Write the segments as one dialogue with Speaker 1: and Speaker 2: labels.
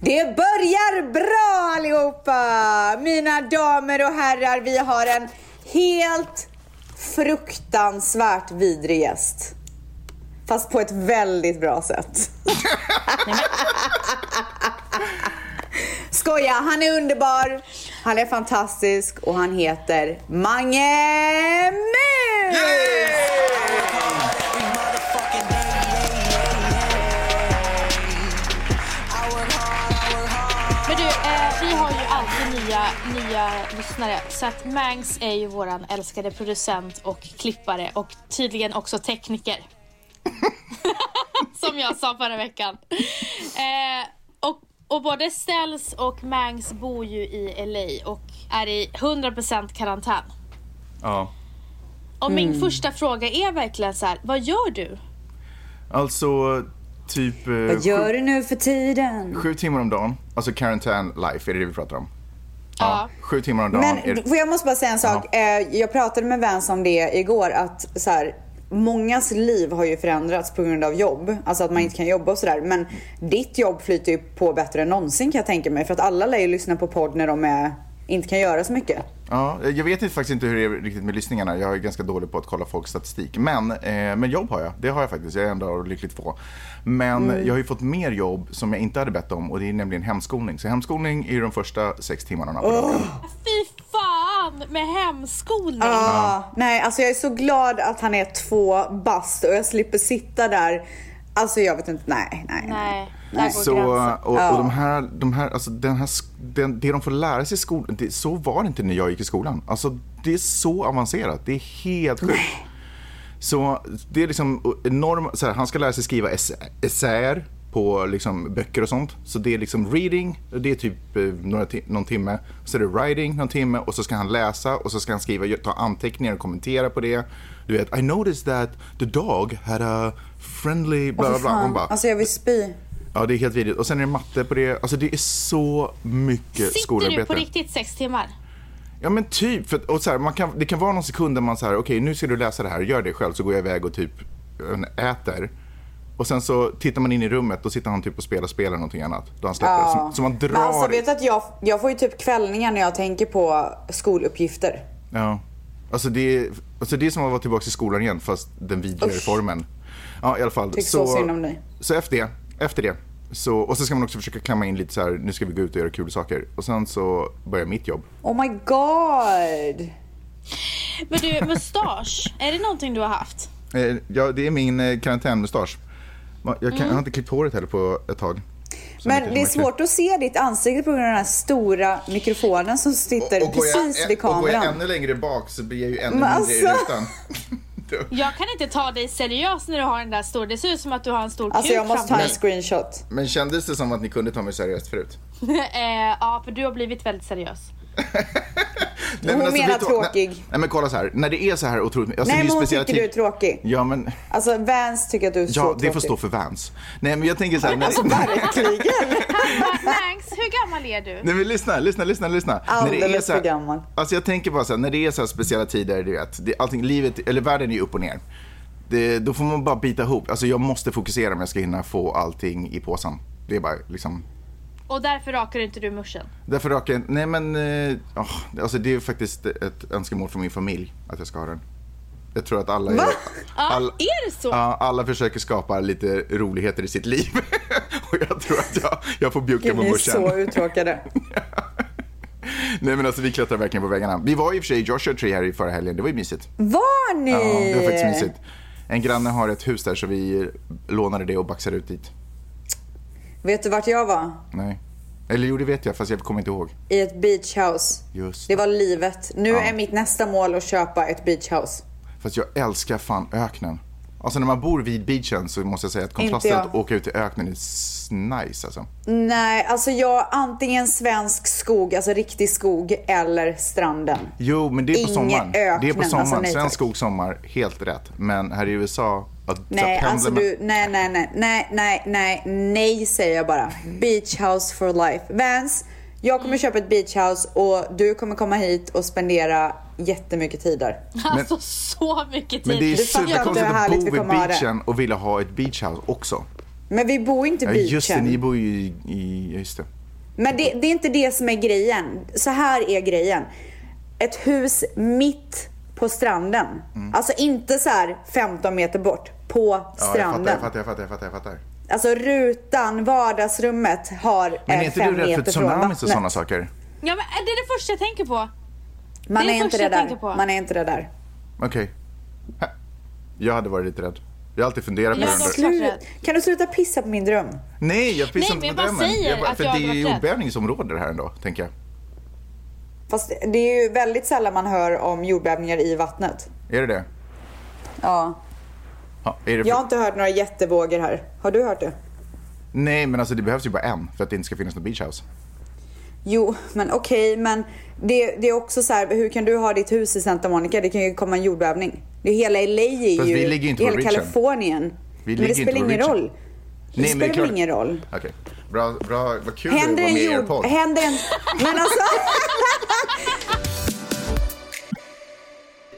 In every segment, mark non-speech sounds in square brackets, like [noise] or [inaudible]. Speaker 1: Det börjar bra allihopa! Mina damer och herrar, vi har en helt fruktansvärt vidrig gäst. Fast på ett väldigt bra sätt. [laughs] Skoja, han är underbar, han är fantastisk och han heter Mange Mus!
Speaker 2: Men du, eh, vi har ju alltid nya, nya lyssnare. Så att Mangs är ju våran älskade producent och klippare och tydligen också tekniker. [laughs] Som jag sa förra veckan. Eh, och, och både Ställs och Mangs bor ju i LA och är i 100% karantän.
Speaker 3: Ja.
Speaker 2: Och min
Speaker 3: Mm.
Speaker 2: första fråga är verkligen så här, vad gör du?
Speaker 3: Alltså, typ eh,
Speaker 1: Vad gör
Speaker 3: sju,
Speaker 1: du nu för tiden?
Speaker 3: sju timmar om dagen. Alltså karantän life, är det det vi pratar om?
Speaker 2: Ja.
Speaker 3: Sju timmar om dagen. är
Speaker 1: Men
Speaker 3: det...
Speaker 1: för jag måste bara säga en sak. Eh, Jag pratade med en vän om det igår att så här, mångas liv har ju förändrats på grund av jobb. Alltså att man inte kan jobba och sådär. Men ditt jobb flyter ju på bättre än någonsin kan jag tänka mig. För att alla lär ju lyssna på podd när de är, inte kan göra så mycket.
Speaker 3: Ja, jag vet inte, faktiskt inte hur det är riktigt med lyssningarna. Jag är ganska dålig på att kolla folks statistik. Men, eh, men jobb har jag. Det har jag faktiskt. Jag är ändå lyckligt få. Men
Speaker 1: Mm.
Speaker 3: jag har ju fått mer jobb som jag inte hade bett om och det är nämligen hemskolning. Så hemskolning är ju de första sex timmarna på dagen.
Speaker 2: Fy fan med hemskolning.
Speaker 1: Ah, nej, alltså jag är så glad att han är två bast och jag slipper sitta där. Alltså jag vet inte, nej, nej. nej.
Speaker 2: Nej, där går
Speaker 3: Så,
Speaker 2: gränsen.
Speaker 3: och, och de här, de här, alltså den här, sk- den, det de får lära sig i skolan, det, så var det inte när jag gick i skolan. Alltså det är så avancerat, det är helt sjukt. Så det är liksom enorm, så här, han ska lära sig skriva essä- essäer på liksom böcker och sånt. Så det är liksom reading, och det är typ eh, några ti- någon timme. Så är det writing någon timme och så ska han läsa och så ska han skriva, gö- ta anteckningar och kommentera på det. Du vet, I noticed that the dog had a friendly bla bla bla. Hon bara,
Speaker 1: Alltså jag vill spy.
Speaker 3: Ja, det är helt vidrigt. Och sen är det matte på det. Alltså det är så mycket
Speaker 2: Sitter
Speaker 3: skolarbete.
Speaker 2: du på riktigt sex timmar?
Speaker 3: Ja men typ. För, att- och så här, man kan, det kan vara någon sekund där man så här, okej nu ska du läsa det här, gör det själv så går jag iväg och typ eh, äter. Och sen så tittar man in i rummet, då sitter han typ och spelar spel eller någonting annat. Då han släpper.
Speaker 1: Ja.
Speaker 3: Så, så man drar.
Speaker 1: Men alltså vet du att jag, jag får ju typ kvällningar när jag tänker på skoluppgifter.
Speaker 3: Ja. Alltså det, är, alltså det är som att vara tillbaka i skolan igen fast den vidrigare formen. Ja i alla fall.
Speaker 1: Tycker så synd om dig.
Speaker 3: Så efter det, efter det. Så, och sen ska man också försöka klämma in lite så här, nu ska vi gå ut och göra kul saker. Och sen så börjar mitt jobb.
Speaker 1: Oh my god!
Speaker 2: Men du, mustasch, är det någonting du har haft?
Speaker 3: Eh, Ja, det är min eh, karantänmustasch. Ma- Jag, kan, jag har inte klippt håret heller på ett tag. Så mycket
Speaker 1: Men
Speaker 3: som
Speaker 1: det är
Speaker 3: jag klippt.
Speaker 1: svårt att se ditt ansikte på grund av den här stora mikrofonen som sitter
Speaker 3: Och- och går jag-
Speaker 1: precis vid
Speaker 3: Och går jag
Speaker 1: kameran.
Speaker 3: ännu längre bak så blir jag ju ännu
Speaker 1: Men
Speaker 3: mindre i
Speaker 1: alltså-
Speaker 3: rutan. [laughs]
Speaker 2: Jag kan inte ta dig seriöst när du har den där stor. Det ser ut som att du har en stor
Speaker 1: Alltså
Speaker 2: kuk
Speaker 1: jag måste ta
Speaker 2: framför
Speaker 1: en screenshot.
Speaker 3: Men kändes det som att ni kunde ta mig seriöst förut?
Speaker 2: dig. [laughs] eh, ja, för du har blivit väldigt seriös.
Speaker 3: Nej,
Speaker 1: Hon menar
Speaker 3: vi tog-
Speaker 1: tråkig.
Speaker 3: Nej, nej men kolla så här, när det är så här otroligt... Alltså, det
Speaker 1: Nej
Speaker 3: är ju
Speaker 1: men hon
Speaker 3: speciella
Speaker 1: tycker du är
Speaker 3: tid-
Speaker 1: tråkig.
Speaker 3: Ja men,
Speaker 1: Alltså Vans tycker att du är så
Speaker 3: ja det
Speaker 1: tråkig. Alltså,
Speaker 3: får stå för Vans. Nej men jag tänker så här, när,
Speaker 1: Verkligen!
Speaker 2: Mangs, hur gammal är du?
Speaker 3: Nej men lyssna, lyssna, lyssna, lyssna. när det är
Speaker 1: Alldeles
Speaker 3: så här,
Speaker 1: för gammal.
Speaker 3: Alltså jag tänker bara så här, när det är så här speciella tider, du vet, det, allting, livet, eller världen är ju upp och ner. Det, då får man bara bita ihop. Alltså jag måste fokusera om jag ska hinna få allting i påsen. Det är bara liksom,
Speaker 2: Och därför rakar inte du muschen.
Speaker 3: därför röker jag nej men, eh, åh, alltså det är faktiskt ett önskemål från min familj att jag ska ha den. Jag tror att alla är,
Speaker 2: Ja,
Speaker 3: all-
Speaker 2: är det så?
Speaker 3: Ja, alla försöker skapa lite roligheter i sitt liv. [laughs] och jag tror att jag, jag får bjucka
Speaker 1: Gud,
Speaker 3: på
Speaker 1: ni är
Speaker 3: muschen.
Speaker 1: så uttråkade.
Speaker 3: Nej men alltså vi klättrar verkligen på väggarna. Vi var i och för sig i Joshua Tree här i förra helgen, det var ju mysigt.
Speaker 1: Var ni?
Speaker 3: Ja, det var
Speaker 1: Eh.
Speaker 3: faktiskt mysigt. En granne har ett hus där så vi lånade det och baxade ut dit.
Speaker 1: Vet du vart jag var?
Speaker 3: Nej. Eller jo det vet jag fast jag kommer inte ihåg.
Speaker 1: I ett beachhouse.
Speaker 3: Just
Speaker 1: Det
Speaker 3: det.
Speaker 1: var livet. Nu
Speaker 3: Ja.
Speaker 1: är mitt nästa mål att köpa ett beachhouse.
Speaker 3: Fast jag älskar fan öknen. Alltså när man bor vid beachen så måste jag säga att kontrasten
Speaker 1: Inte jag.
Speaker 3: att åka ut i öknen är s- nice alltså.
Speaker 1: Nej, alltså jag antingen svensk skog, alltså riktig skog eller stranden.
Speaker 3: Jo men det är på
Speaker 1: Inge
Speaker 3: sommaren. det är
Speaker 1: öknen,
Speaker 3: på
Speaker 1: alltså,
Speaker 3: sommaren.
Speaker 1: nej, tack.
Speaker 3: Svensk skog sommar, helt rätt. Men här i USA, att
Speaker 1: Nej,
Speaker 3: pendla
Speaker 1: alltså
Speaker 3: med-
Speaker 1: du, nej, nej, nej, nej, nej, nej, nej säger jag bara. Beach house for life. Vans, jag kommer köpa ett beachhouse och du kommer komma hit och spendera jättemycket tid där.
Speaker 2: Alltså så mycket tid.
Speaker 3: Men det är
Speaker 1: fattar jag inte hur
Speaker 3: superkonstigt att
Speaker 1: härligt
Speaker 3: bo
Speaker 1: vi
Speaker 3: vid
Speaker 1: kommer ha det.
Speaker 3: beachen och vilja ha ett beachhouse också.
Speaker 1: Men vi bor ju inte i
Speaker 3: Ja,
Speaker 1: beachen.
Speaker 3: just det, ni bor ju i... i ja, just det.
Speaker 1: Men det, det är inte det som är grejen. Så här är grejen. Ett hus mitt på stranden. Alltså inte så här 15 meter bort. På
Speaker 3: Mm. Ja, jag fattar,
Speaker 1: stranden.
Speaker 3: jag fattar, jag fattar, jag fattar, jag fattar.
Speaker 1: Alltså rutan, vardagsrummet har
Speaker 3: Men är
Speaker 1: eh,
Speaker 3: inte
Speaker 1: fem
Speaker 3: du rädd för
Speaker 1: meter från
Speaker 3: tsunamis och
Speaker 1: vattnet.
Speaker 3: sådana saker?
Speaker 2: Ja, men det är det första jag tänker på.
Speaker 1: Man
Speaker 2: Det
Speaker 1: är,
Speaker 2: är det
Speaker 1: inte
Speaker 2: första
Speaker 1: det
Speaker 2: jag
Speaker 1: där.
Speaker 2: tänker på.
Speaker 1: Man är inte det där.
Speaker 3: Okej. Ha. Jag hade varit lite rädd. Jag har alltid funderat på
Speaker 2: Jag
Speaker 3: den
Speaker 2: också.
Speaker 3: där.
Speaker 2: klart
Speaker 1: Slut.
Speaker 2: rädd.
Speaker 1: Kan du sluta pissa på min dröm?
Speaker 3: Nej, jag pissar
Speaker 2: Nej,
Speaker 3: inte
Speaker 2: men
Speaker 3: på
Speaker 2: jag bara
Speaker 3: drömmen.
Speaker 2: säger
Speaker 3: bara-
Speaker 2: att
Speaker 3: För
Speaker 2: jag
Speaker 3: det är
Speaker 2: hade
Speaker 3: ju
Speaker 2: varit rädd.
Speaker 3: jordbävning som råder här ändå, tänker jag.
Speaker 1: Fast det är ju väldigt sällan man hör om jordbävningar i vattnet.
Speaker 3: Är det det?
Speaker 1: Ja.
Speaker 3: Ja, är det för...
Speaker 1: Jag har inte hört några jättevågor här. Har du hört det?
Speaker 3: Nej, men alltså det behövs ju bara en för att det inte ska finnas någon beach house.
Speaker 1: Jo, men okej, men det, det är också så här, hur kan du ha ditt hus i Santa Monica? Det kan ju komma en jordbävning. Det är hela LA är
Speaker 3: Fast
Speaker 1: ju,
Speaker 3: vi ligger ju inte på
Speaker 1: hela
Speaker 3: reachen.
Speaker 1: Kalifornien. men
Speaker 3: ligger
Speaker 1: det
Speaker 3: ju
Speaker 1: spelar
Speaker 3: inte på
Speaker 1: ingen
Speaker 3: reachen.
Speaker 1: roll. Det
Speaker 3: Nej, men
Speaker 1: spelar
Speaker 3: det är
Speaker 1: väl
Speaker 3: klart-
Speaker 1: ingen roll.
Speaker 3: Okej, bra, bra, vad kul
Speaker 1: Händer
Speaker 3: att
Speaker 1: en
Speaker 3: vara med i er
Speaker 1: jord...
Speaker 3: podd.
Speaker 1: Händer en... Men
Speaker 3: [laughs]
Speaker 1: alltså...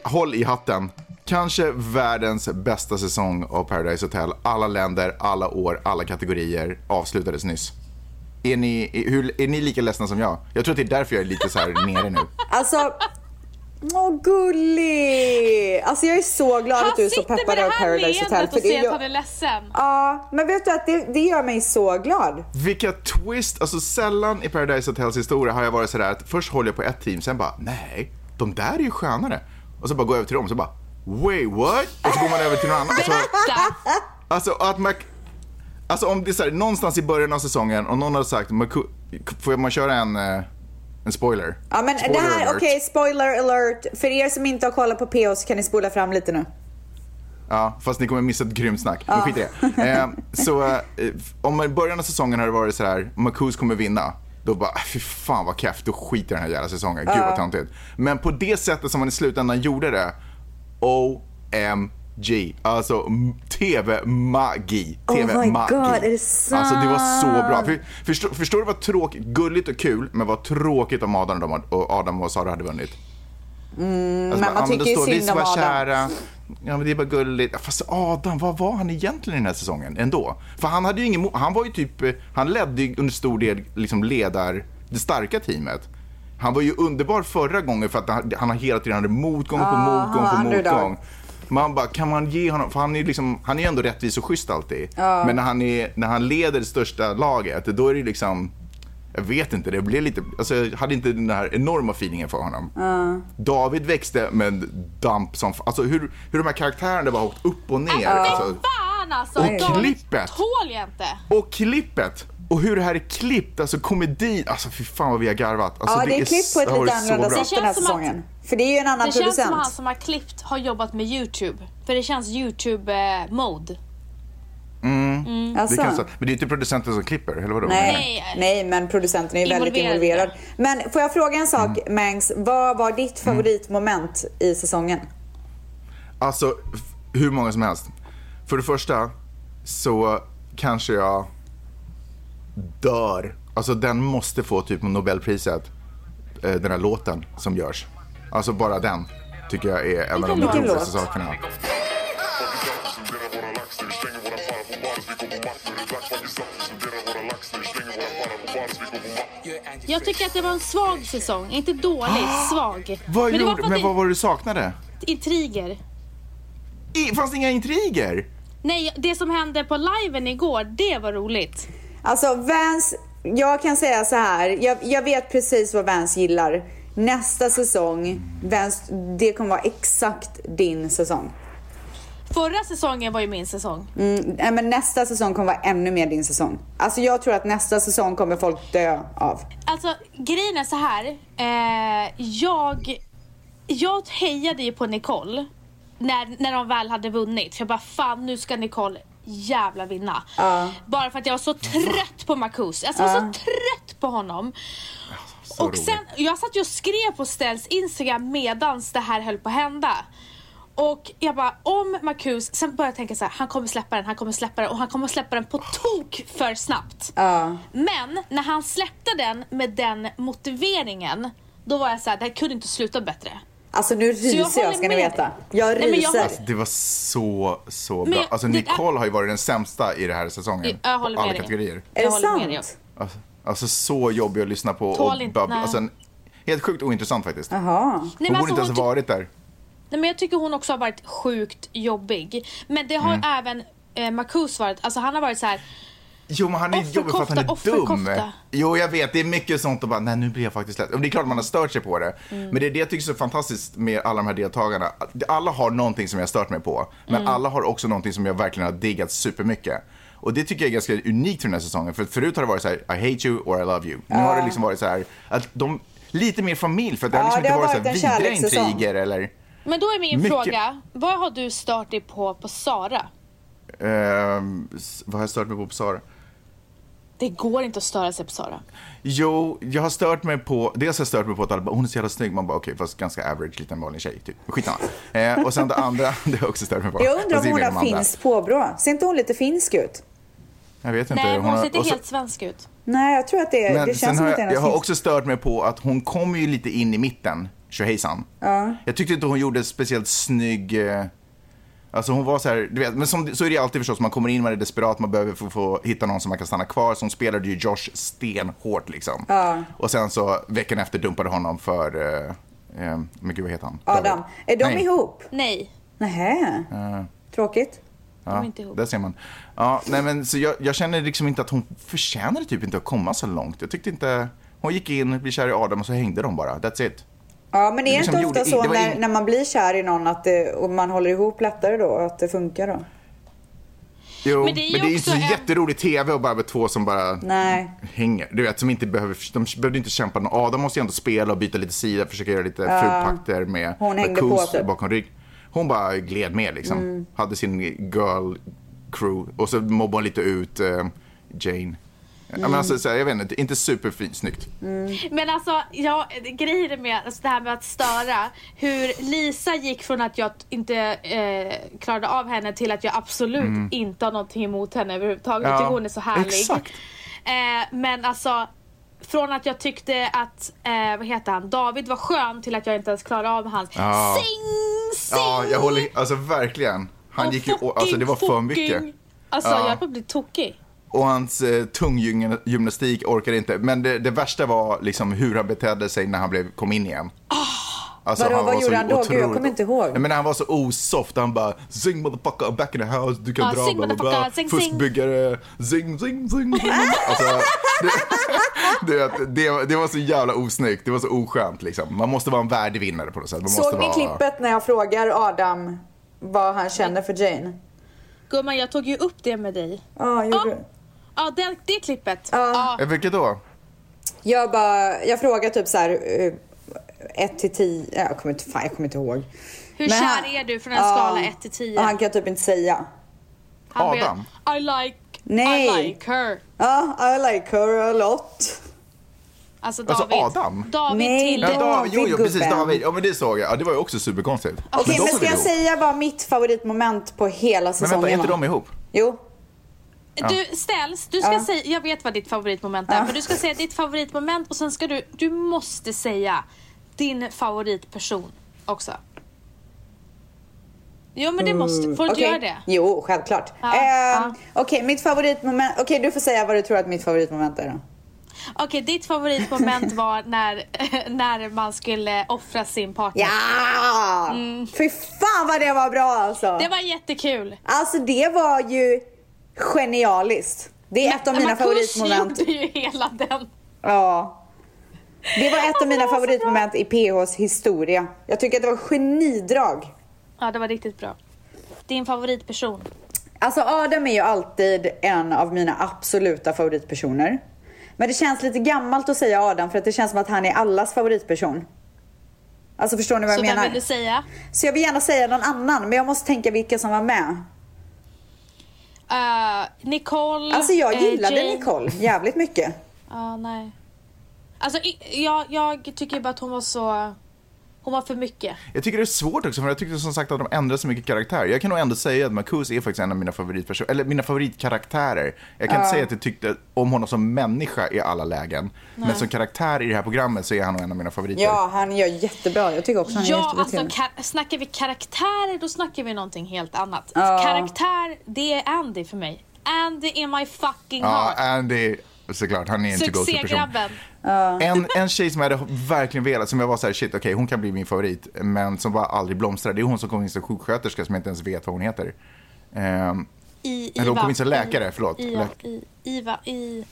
Speaker 3: Håll i hatten. Kanske världens bästa säsong av Paradise Hotel. Alla länder, alla år, alla kategorier avslutades nyss. Är ni, är, hur, är ni lika ledsna som jag? Jag tror att det är därför jag är lite så här nere nu.
Speaker 1: Alltså... Åh, gullig! Alltså jag är så glad
Speaker 2: Han
Speaker 1: att du är så
Speaker 2: sitter med
Speaker 1: peppad
Speaker 2: det
Speaker 1: av
Speaker 2: här
Speaker 1: Paradise Hotel.
Speaker 2: leendet och
Speaker 1: det
Speaker 2: säger att
Speaker 1: gör-
Speaker 2: han är ledsen.
Speaker 1: Ja, men vet du att det, det gör mig så glad.
Speaker 3: Vilka twist! Alltså sällan i Paradise Hotels historia har jag varit sådär att först håller jag på ett team, sen bara nej, de där är ju skönare. Och så bara går jag över till dem, så bara wait what? Och så går man över till någon annan. Och så,
Speaker 2: Berätta!
Speaker 3: alltså att man... Alltså om det är så här, någonstans i början av säsongen och någon har sagt, "Maku- får man köra en, eh, en spoiler?
Speaker 1: Ja men
Speaker 3: spoiler
Speaker 1: det här,
Speaker 3: alert.
Speaker 1: okej, spoiler alert. För er som inte har kollat på PH så kan ni spola fram lite nu.
Speaker 3: Ja, fast ni kommer missa ett grymt snack. Men skit i det. Eh, så eh, f- om man i början av säsongen har det varit så här, Marcus kommer vinna. Då bara, "Ah, fy fan vad keff, då skiter jag i den här jävla säsongen. Gud vad töntigt. Men på det sättet som man i slutändan gjorde det, OMG. Alltså m- TV-magi.
Speaker 1: Oh my
Speaker 3: TV-magi.
Speaker 1: God, är det
Speaker 3: Alltså det var så bra.
Speaker 1: sant?
Speaker 3: För, förstår, förstår du vad tråkigt, gulligt och kul, men vad tråkigt om Adam och, de, och, Adam och Sara hade vunnit. Alltså,
Speaker 1: Mm, Men man
Speaker 3: bara, men
Speaker 1: tycker
Speaker 3: då
Speaker 1: ju
Speaker 3: står vi
Speaker 1: synd
Speaker 3: som
Speaker 1: om
Speaker 3: var
Speaker 1: Adam.
Speaker 3: Kära. eh, Ja, men det är bara gulligt. Ja, Fast Adam, vad var han egentligen i den här säsongen ändå? För han hade ju ingen mo- Han var ju typ, eh, han ledde ju under stor del liksom ledar, det starka teamet. Han var ju underbar förra gången för att han, han har hela tiden hade motgång på motgång
Speaker 1: han var
Speaker 3: på
Speaker 1: underdog.
Speaker 3: motgång. Man bara, kan man ge honom, för han är ju liksom, han är ju ändå rättvis och schysst alltid. Men när han, är, när han leder det största laget, då är det liksom, jag vet inte, det blev lite, alltså jag hade inte den här enorma feelingen för honom. David växte med en damp som, f- alltså hur, hur de här karaktärerna bara åkt upp och ner. Alltså,
Speaker 2: Fan alltså!
Speaker 3: Och
Speaker 2: David
Speaker 3: klippet.
Speaker 2: tål jag inte.
Speaker 3: och klippet! Och hur det här är klippt, alltså komedin, alltså fy fan vad vi har garvat. Alltså,
Speaker 1: Ja, det är klippt på ett
Speaker 3: det har
Speaker 1: lite
Speaker 3: varit så
Speaker 1: annorlunda
Speaker 3: bra.
Speaker 1: sätt den här
Speaker 2: Det känns som att-
Speaker 1: säsongen. För det är ju en annan
Speaker 2: Det känns som att han
Speaker 1: producent.
Speaker 2: som har klippt har jobbat med YouTube. För det känns eh, YouTube-mode.
Speaker 3: Det
Speaker 1: Alltså.
Speaker 3: kan, så- men det är inte producenten som klipper, eller vadå?
Speaker 1: Nej,
Speaker 2: Nej.
Speaker 1: nej, men producenten är ju väldigt
Speaker 2: Involverad.
Speaker 1: involverad. Men får jag fråga en sak,
Speaker 3: Mm.
Speaker 1: Mangs? Vad var ditt favoritmoment i säsongen?
Speaker 3: Alltså, f- hur många som helst. För det första så kanske jag dör. Alltså den måste få typ Nobelpriset. eh, Den här låten som görs. Alltså bara den tycker jag är en av de
Speaker 2: Vilken låt?
Speaker 3: roligaste sakerna.
Speaker 2: Jag tycker att det var en svag säsong. Inte dålig, svag.
Speaker 3: Ah, Vad,
Speaker 2: men det var
Speaker 3: gjorde,
Speaker 2: för att
Speaker 3: men
Speaker 2: det
Speaker 3: vad var det du saknade?
Speaker 2: intriger.
Speaker 3: I, fanns det inga intriger?
Speaker 2: Nej, det som hände på liven igår, det var roligt.
Speaker 1: Alltså Vans, jag kan säga så här. Jag, jag vet precis vad Vans gillar. Nästa säsong, Vans, det kommer vara exakt din säsong.
Speaker 2: Förra säsongen var ju min säsong.
Speaker 1: Mm, nej, men nästa säsong kommer vara ännu mer din säsong. Alltså jag tror att nästa säsong kommer folk dö av.
Speaker 2: Alltså grejen är så här. Eh, jag, jag hejade ju på Nicole när, när de väl hade vunnit. För jag bara fan nu ska Nicole jävla vinna. Bara för att jag var så trött på Marcus. Alltså jag var så trött på honom.
Speaker 3: Så
Speaker 2: och sen, jag satt ju och skrev på Stells Instagram medans det här höll på att hända. Och jag bara, om Marcus, sen började jag tänka så här, han kommer släppa den, han kommer släppa den och han kommer släppa den på tok för snabbt. Men när han släppte den med den motiveringen, då var jag så här, det här kunde inte sluta bättre.
Speaker 1: Alltså nu ryser jag,
Speaker 2: håller
Speaker 1: ska ni
Speaker 2: med
Speaker 1: veta.
Speaker 2: dig.
Speaker 1: Jag
Speaker 2: Nej,
Speaker 1: ryser.
Speaker 2: men jag håller-
Speaker 3: Alltså, det var så, så
Speaker 2: Men
Speaker 3: bra.
Speaker 2: jag-
Speaker 3: Alltså
Speaker 2: det är-
Speaker 3: Nicole har ju varit den sämsta i den här säsongen.
Speaker 2: Jag håller
Speaker 3: på alla
Speaker 2: med dig.
Speaker 3: kategorier.
Speaker 2: Jag
Speaker 1: Är det
Speaker 2: håller med dig.
Speaker 1: sant?
Speaker 3: Alltså, alltså så jobbig att lyssna på.
Speaker 2: Tål
Speaker 3: och
Speaker 2: inte-
Speaker 3: babbla.
Speaker 2: nej.
Speaker 3: Alltså, en, helt sjukt ointressant faktiskt.
Speaker 1: Jaha.
Speaker 2: Nej,
Speaker 3: hon
Speaker 2: men
Speaker 3: borde inte
Speaker 2: alltså,
Speaker 3: ens
Speaker 2: hon
Speaker 3: varit där.
Speaker 2: Nej, men jag tycker hon också har varit sjukt jobbig. Men det har
Speaker 3: Mm.
Speaker 2: även eh, Marcus varit. Alltså han har varit så här.
Speaker 3: Jo, men han är jobbig för att han är
Speaker 2: Offerkofta,
Speaker 3: dum.
Speaker 2: offerkofta.
Speaker 3: Jo, jag vet. Det är mycket sånt och bara, nej nu blir jag faktiskt ledsen. Och Det är klart man har stört sig på det.
Speaker 2: Mm.
Speaker 3: Men det är det jag tycker är så fantastiskt med alla de här deltagarna. Alla har någonting som jag har stört mig på. Men
Speaker 2: Mm.
Speaker 3: alla har också någonting som jag verkligen har diggat supermycket. Och det tycker jag är ganska unikt för den här säsongen. För förut har det varit så här, I hate you or I love you. Nu har det liksom varit så här, att de, lite mer familj. För att det har
Speaker 1: Ja,
Speaker 3: liksom
Speaker 1: det har
Speaker 3: inte varit,
Speaker 1: varit
Speaker 3: så här
Speaker 1: en
Speaker 3: vidriga
Speaker 1: kärlekssäsong.
Speaker 3: intriger eller...
Speaker 2: Men då är min
Speaker 3: Mycket-
Speaker 2: fråga. Vad har du stört dig på på Sara?
Speaker 3: ehm, s- vad har jag stört mig på på Sara?
Speaker 2: Det går inte att störa sig
Speaker 3: [laughs]
Speaker 2: på Sara.
Speaker 3: Jo, jag har stört mig på, dels har jag stört mig på att alla bara, hon är så jävla snygg. Man bara okej, fast ganska average liten vanlig tjej. Typ. Men Skitsamma. Eh, och sen det andra, [laughs] det har jag också stört mig på.
Speaker 1: Jag undrar
Speaker 3: Fast det
Speaker 1: om
Speaker 3: är
Speaker 1: hon
Speaker 3: mer de
Speaker 1: har
Speaker 3: andra.
Speaker 1: finskt påbrå. Ser inte hon lite finsk ut?
Speaker 3: Jag vet inte.
Speaker 2: Nej, men hon
Speaker 3: har-
Speaker 2: ser inte
Speaker 3: och så-
Speaker 2: helt svensk ut.
Speaker 1: Nej, jag tror att det,
Speaker 3: Men
Speaker 1: det
Speaker 3: sen
Speaker 1: känns som
Speaker 3: har
Speaker 1: att det är
Speaker 3: jag, jag
Speaker 1: något
Speaker 3: har
Speaker 1: finskt.
Speaker 3: också stört mig på att hon kom ju lite in i mitten, tjohejsan. Jag tyckte inte hon gjorde speciellt snygg... eh, Alltså hon var så här, du vet, men som, så är det ju alltid förstås, man kommer in, man är desperat, man behöver få, få hitta någon som man kan stanna kvar. Så hon spelade ju Josh stenhårt liksom. Och sen så veckan efter dumpade honom för, eh, eh, men gud vad heter han?
Speaker 1: Adam, är de
Speaker 3: Nej.
Speaker 1: ihop?
Speaker 2: Nej,
Speaker 1: Nähä. Tråkigt.
Speaker 2: de är inte ihop.
Speaker 3: Där ser man. Ja, nej men så jag, jag känner liksom inte att hon förtjänade typ inte att komma så långt. Jag tyckte inte, hon gick in, blev kär i Adam och så hängde de bara, that's it.
Speaker 1: Ja, men det är
Speaker 3: liksom
Speaker 1: inte ofta
Speaker 3: gjorde-
Speaker 1: så
Speaker 3: det var
Speaker 1: när,
Speaker 3: ing-
Speaker 1: när man blir kär i någon att det, och man håller ihop lättare då, att det funkar då?
Speaker 3: Jo,
Speaker 2: Men
Speaker 3: men
Speaker 2: det
Speaker 3: det
Speaker 2: är ju
Speaker 3: är ju inte
Speaker 2: också
Speaker 3: så
Speaker 2: en-
Speaker 3: jätterolig tv och bara med två som bara
Speaker 1: Nej.
Speaker 3: hänger. Du vet, som inte behöver, de behövde inte kämpa. någon- Adam måste ju ändå spela och byta lite sida, försöka göra lite frupakter med
Speaker 1: Hon hängde
Speaker 3: med Kuz
Speaker 1: på, typ.
Speaker 3: bakom rygg. Hon bara gled med liksom.
Speaker 2: Mm.
Speaker 3: Hade sin girl crew och så mobbade hon lite ut eh, Jane. Ja,
Speaker 2: Mm.
Speaker 3: men alltså, så här, jag vet inte, inte superfint snyggt.
Speaker 2: Men alltså, jag, grejen med alltså det här med att störa, hur Lisa gick från att jag t- inte eh, klarade av henne till att jag absolut inte har någonting emot henne överhuvudtaget.
Speaker 3: Mm. Ja,
Speaker 2: Jag tycker hon är så härlig.
Speaker 3: exakt.
Speaker 2: Eh, men alltså, från att jag tyckte att, eh, vad heter han, David var skön till att jag inte ens klarade av hans
Speaker 3: Ja.
Speaker 2: sing, sing!
Speaker 3: Ja, jag håller, alltså verkligen. Han
Speaker 2: och
Speaker 3: gick ju, å-
Speaker 2: fucking,
Speaker 3: alltså det var för mycket.
Speaker 2: fucking. Alltså
Speaker 3: Ja.
Speaker 2: jag höll på att bli tokig.
Speaker 3: Och hans eh, tunggymnastik orkade inte. Men det, det värsta var liksom hur han betedde sig när han blev, kom in igen. Alltså,
Speaker 1: Ah, Vadå, vad
Speaker 3: var så
Speaker 1: gjorde han då? Gud, jag
Speaker 3: otroligt-
Speaker 1: kommer inte ihåg.
Speaker 3: Nej, Men han var så osoft. Han bara zing motherfucker, I'm back in the house, du kan
Speaker 1: Ah,
Speaker 2: Ja,
Speaker 3: dra,
Speaker 2: zing,
Speaker 3: bla, bla, bla.
Speaker 2: motherfucker, zing, zing.
Speaker 3: fuskbyggare, zing zing zing. zing. alltså, det, [laughs] du vet, det, det var så jävla osnyggt, det var så oskönt liksom. Man måste vara en värdig vinnare på något sätt. Man måste
Speaker 1: Såg ni
Speaker 3: vara...
Speaker 1: klippet när jag frågar Adam vad han känner för Jane?
Speaker 2: Gumman, jag tog ju upp det med dig.
Speaker 1: Ja, gjorde du?
Speaker 2: Ja, det, det klippet.
Speaker 1: Ja.
Speaker 2: Ja.
Speaker 3: Eh, Vilket då?
Speaker 1: Jag bara, jag frågar typ så här 1 till 10, jag kommer inte, fan, jag kommer inte ihåg.
Speaker 2: Hur
Speaker 1: Men han-
Speaker 2: kär är du från en
Speaker 1: Ja.
Speaker 2: skala 1 till 10?
Speaker 1: Och han kan typ inte säga.
Speaker 2: Han
Speaker 3: Adam.
Speaker 2: vet, I like, I
Speaker 1: Nej.
Speaker 2: like her.
Speaker 1: Ja, I like her a lot.
Speaker 2: Alltså David.
Speaker 3: Alltså, Adam?
Speaker 2: David
Speaker 1: Nej,
Speaker 2: till
Speaker 3: Ja,
Speaker 1: David.
Speaker 3: David, jo, jo, precis,
Speaker 1: gubben.
Speaker 3: David. Ja, men det såg jag. Ja, det var ju också superkonstigt.
Speaker 1: Okej,
Speaker 3: de
Speaker 1: men
Speaker 3: är
Speaker 1: ska jag
Speaker 3: ihop.
Speaker 1: säga vad mitt favoritmoment på hela
Speaker 3: Men
Speaker 1: säsongen
Speaker 3: vänta, är inte
Speaker 1: var?
Speaker 3: de ihop?
Speaker 1: Jo.
Speaker 2: Du ställs, du ska
Speaker 1: Ja.
Speaker 2: säga, jag vet vad ditt favoritmoment är, men du ska säga ditt favoritmoment och sen ska du, du måste säga din favoritperson också. Jo men det måste, får du inte
Speaker 1: Mm, Okej.
Speaker 2: göra det?
Speaker 1: Jo, självklart.
Speaker 2: Ja,
Speaker 1: Eh,
Speaker 2: ja.
Speaker 1: Okej, mitt favoritmoment. Okej, du får säga vad du tror att mitt favoritmoment är då.
Speaker 2: Okej,
Speaker 1: [laughs]
Speaker 2: ditt favoritmoment var när, [laughs] när man skulle offra sin partner.
Speaker 1: Ja! Fy fan vad det var bra alltså.
Speaker 2: Mm. Det var jättekul.
Speaker 1: Alltså det var ju genialiskt. Det är ett av mina
Speaker 2: Marcus
Speaker 1: favoritmoment.
Speaker 2: gjorde ju hela den.
Speaker 1: Ja. Det var ett av mina
Speaker 2: alltså, det var så
Speaker 1: favoritmoment i PHs historia. Jag tycker att det var genidrag.
Speaker 2: Ja, det var riktigt bra. Din favoritperson.
Speaker 1: Alltså Adam är ju alltid en av mina absoluta favoritpersoner. Men det känns lite gammalt att säga Adam för att det känns som att han är allas favoritperson. Alltså förstår ni vad
Speaker 2: så
Speaker 1: jag
Speaker 2: vem
Speaker 1: menar?
Speaker 2: vill du säga?
Speaker 1: Så jag vill gärna säga någon annan men jag måste tänka vilka som var med.
Speaker 2: Eh, Nicole.
Speaker 1: Alltså jag
Speaker 2: eh,
Speaker 1: gillade
Speaker 2: Jane.
Speaker 1: Nicole jävligt mycket.
Speaker 2: Ja, nej. Alltså i- jag, jag tycker bara att hon var så... Hon var för mycket.
Speaker 3: Jag tycker det är svårt också, för jag tyckte som sagt att de ändrade så mycket karaktär. Jag kan nog ändå säga att Marcus är faktiskt en av mina favoritpersoner, eller mina favoritkaraktärer. Jag kan inte säga att jag tyckte om honom som människa i alla lägen, men som karaktär i det här programmet så är han nog en av mina favoriter.
Speaker 1: Ja, han gör jättebra. Jag tycker också han
Speaker 2: Ja,
Speaker 1: är
Speaker 2: alltså
Speaker 1: jättebra alltså,
Speaker 2: ka- snackar vi karaktärer då snackar vi någonting helt annat.
Speaker 1: Ja.
Speaker 2: Karaktär, det är Andy för mig. Andy in my fucking
Speaker 3: Ja,
Speaker 2: heart.
Speaker 3: Andy, såklart, han är en typ to-go-person.
Speaker 2: Succégrabben.
Speaker 3: En, en tjej som jag hade verkligen velat, som jag var så här, shit, okej, hon kan bli min favorit, men som bara aldrig blomstrade, det är hon som kom in som sjuksköterska som jag inte ens vet vad hon heter. Ehm,
Speaker 2: I,
Speaker 3: Eller hon
Speaker 2: Iva.
Speaker 3: kom in som läkare, förlåt.
Speaker 2: I,
Speaker 3: Läk-
Speaker 2: I, I, Iva, i...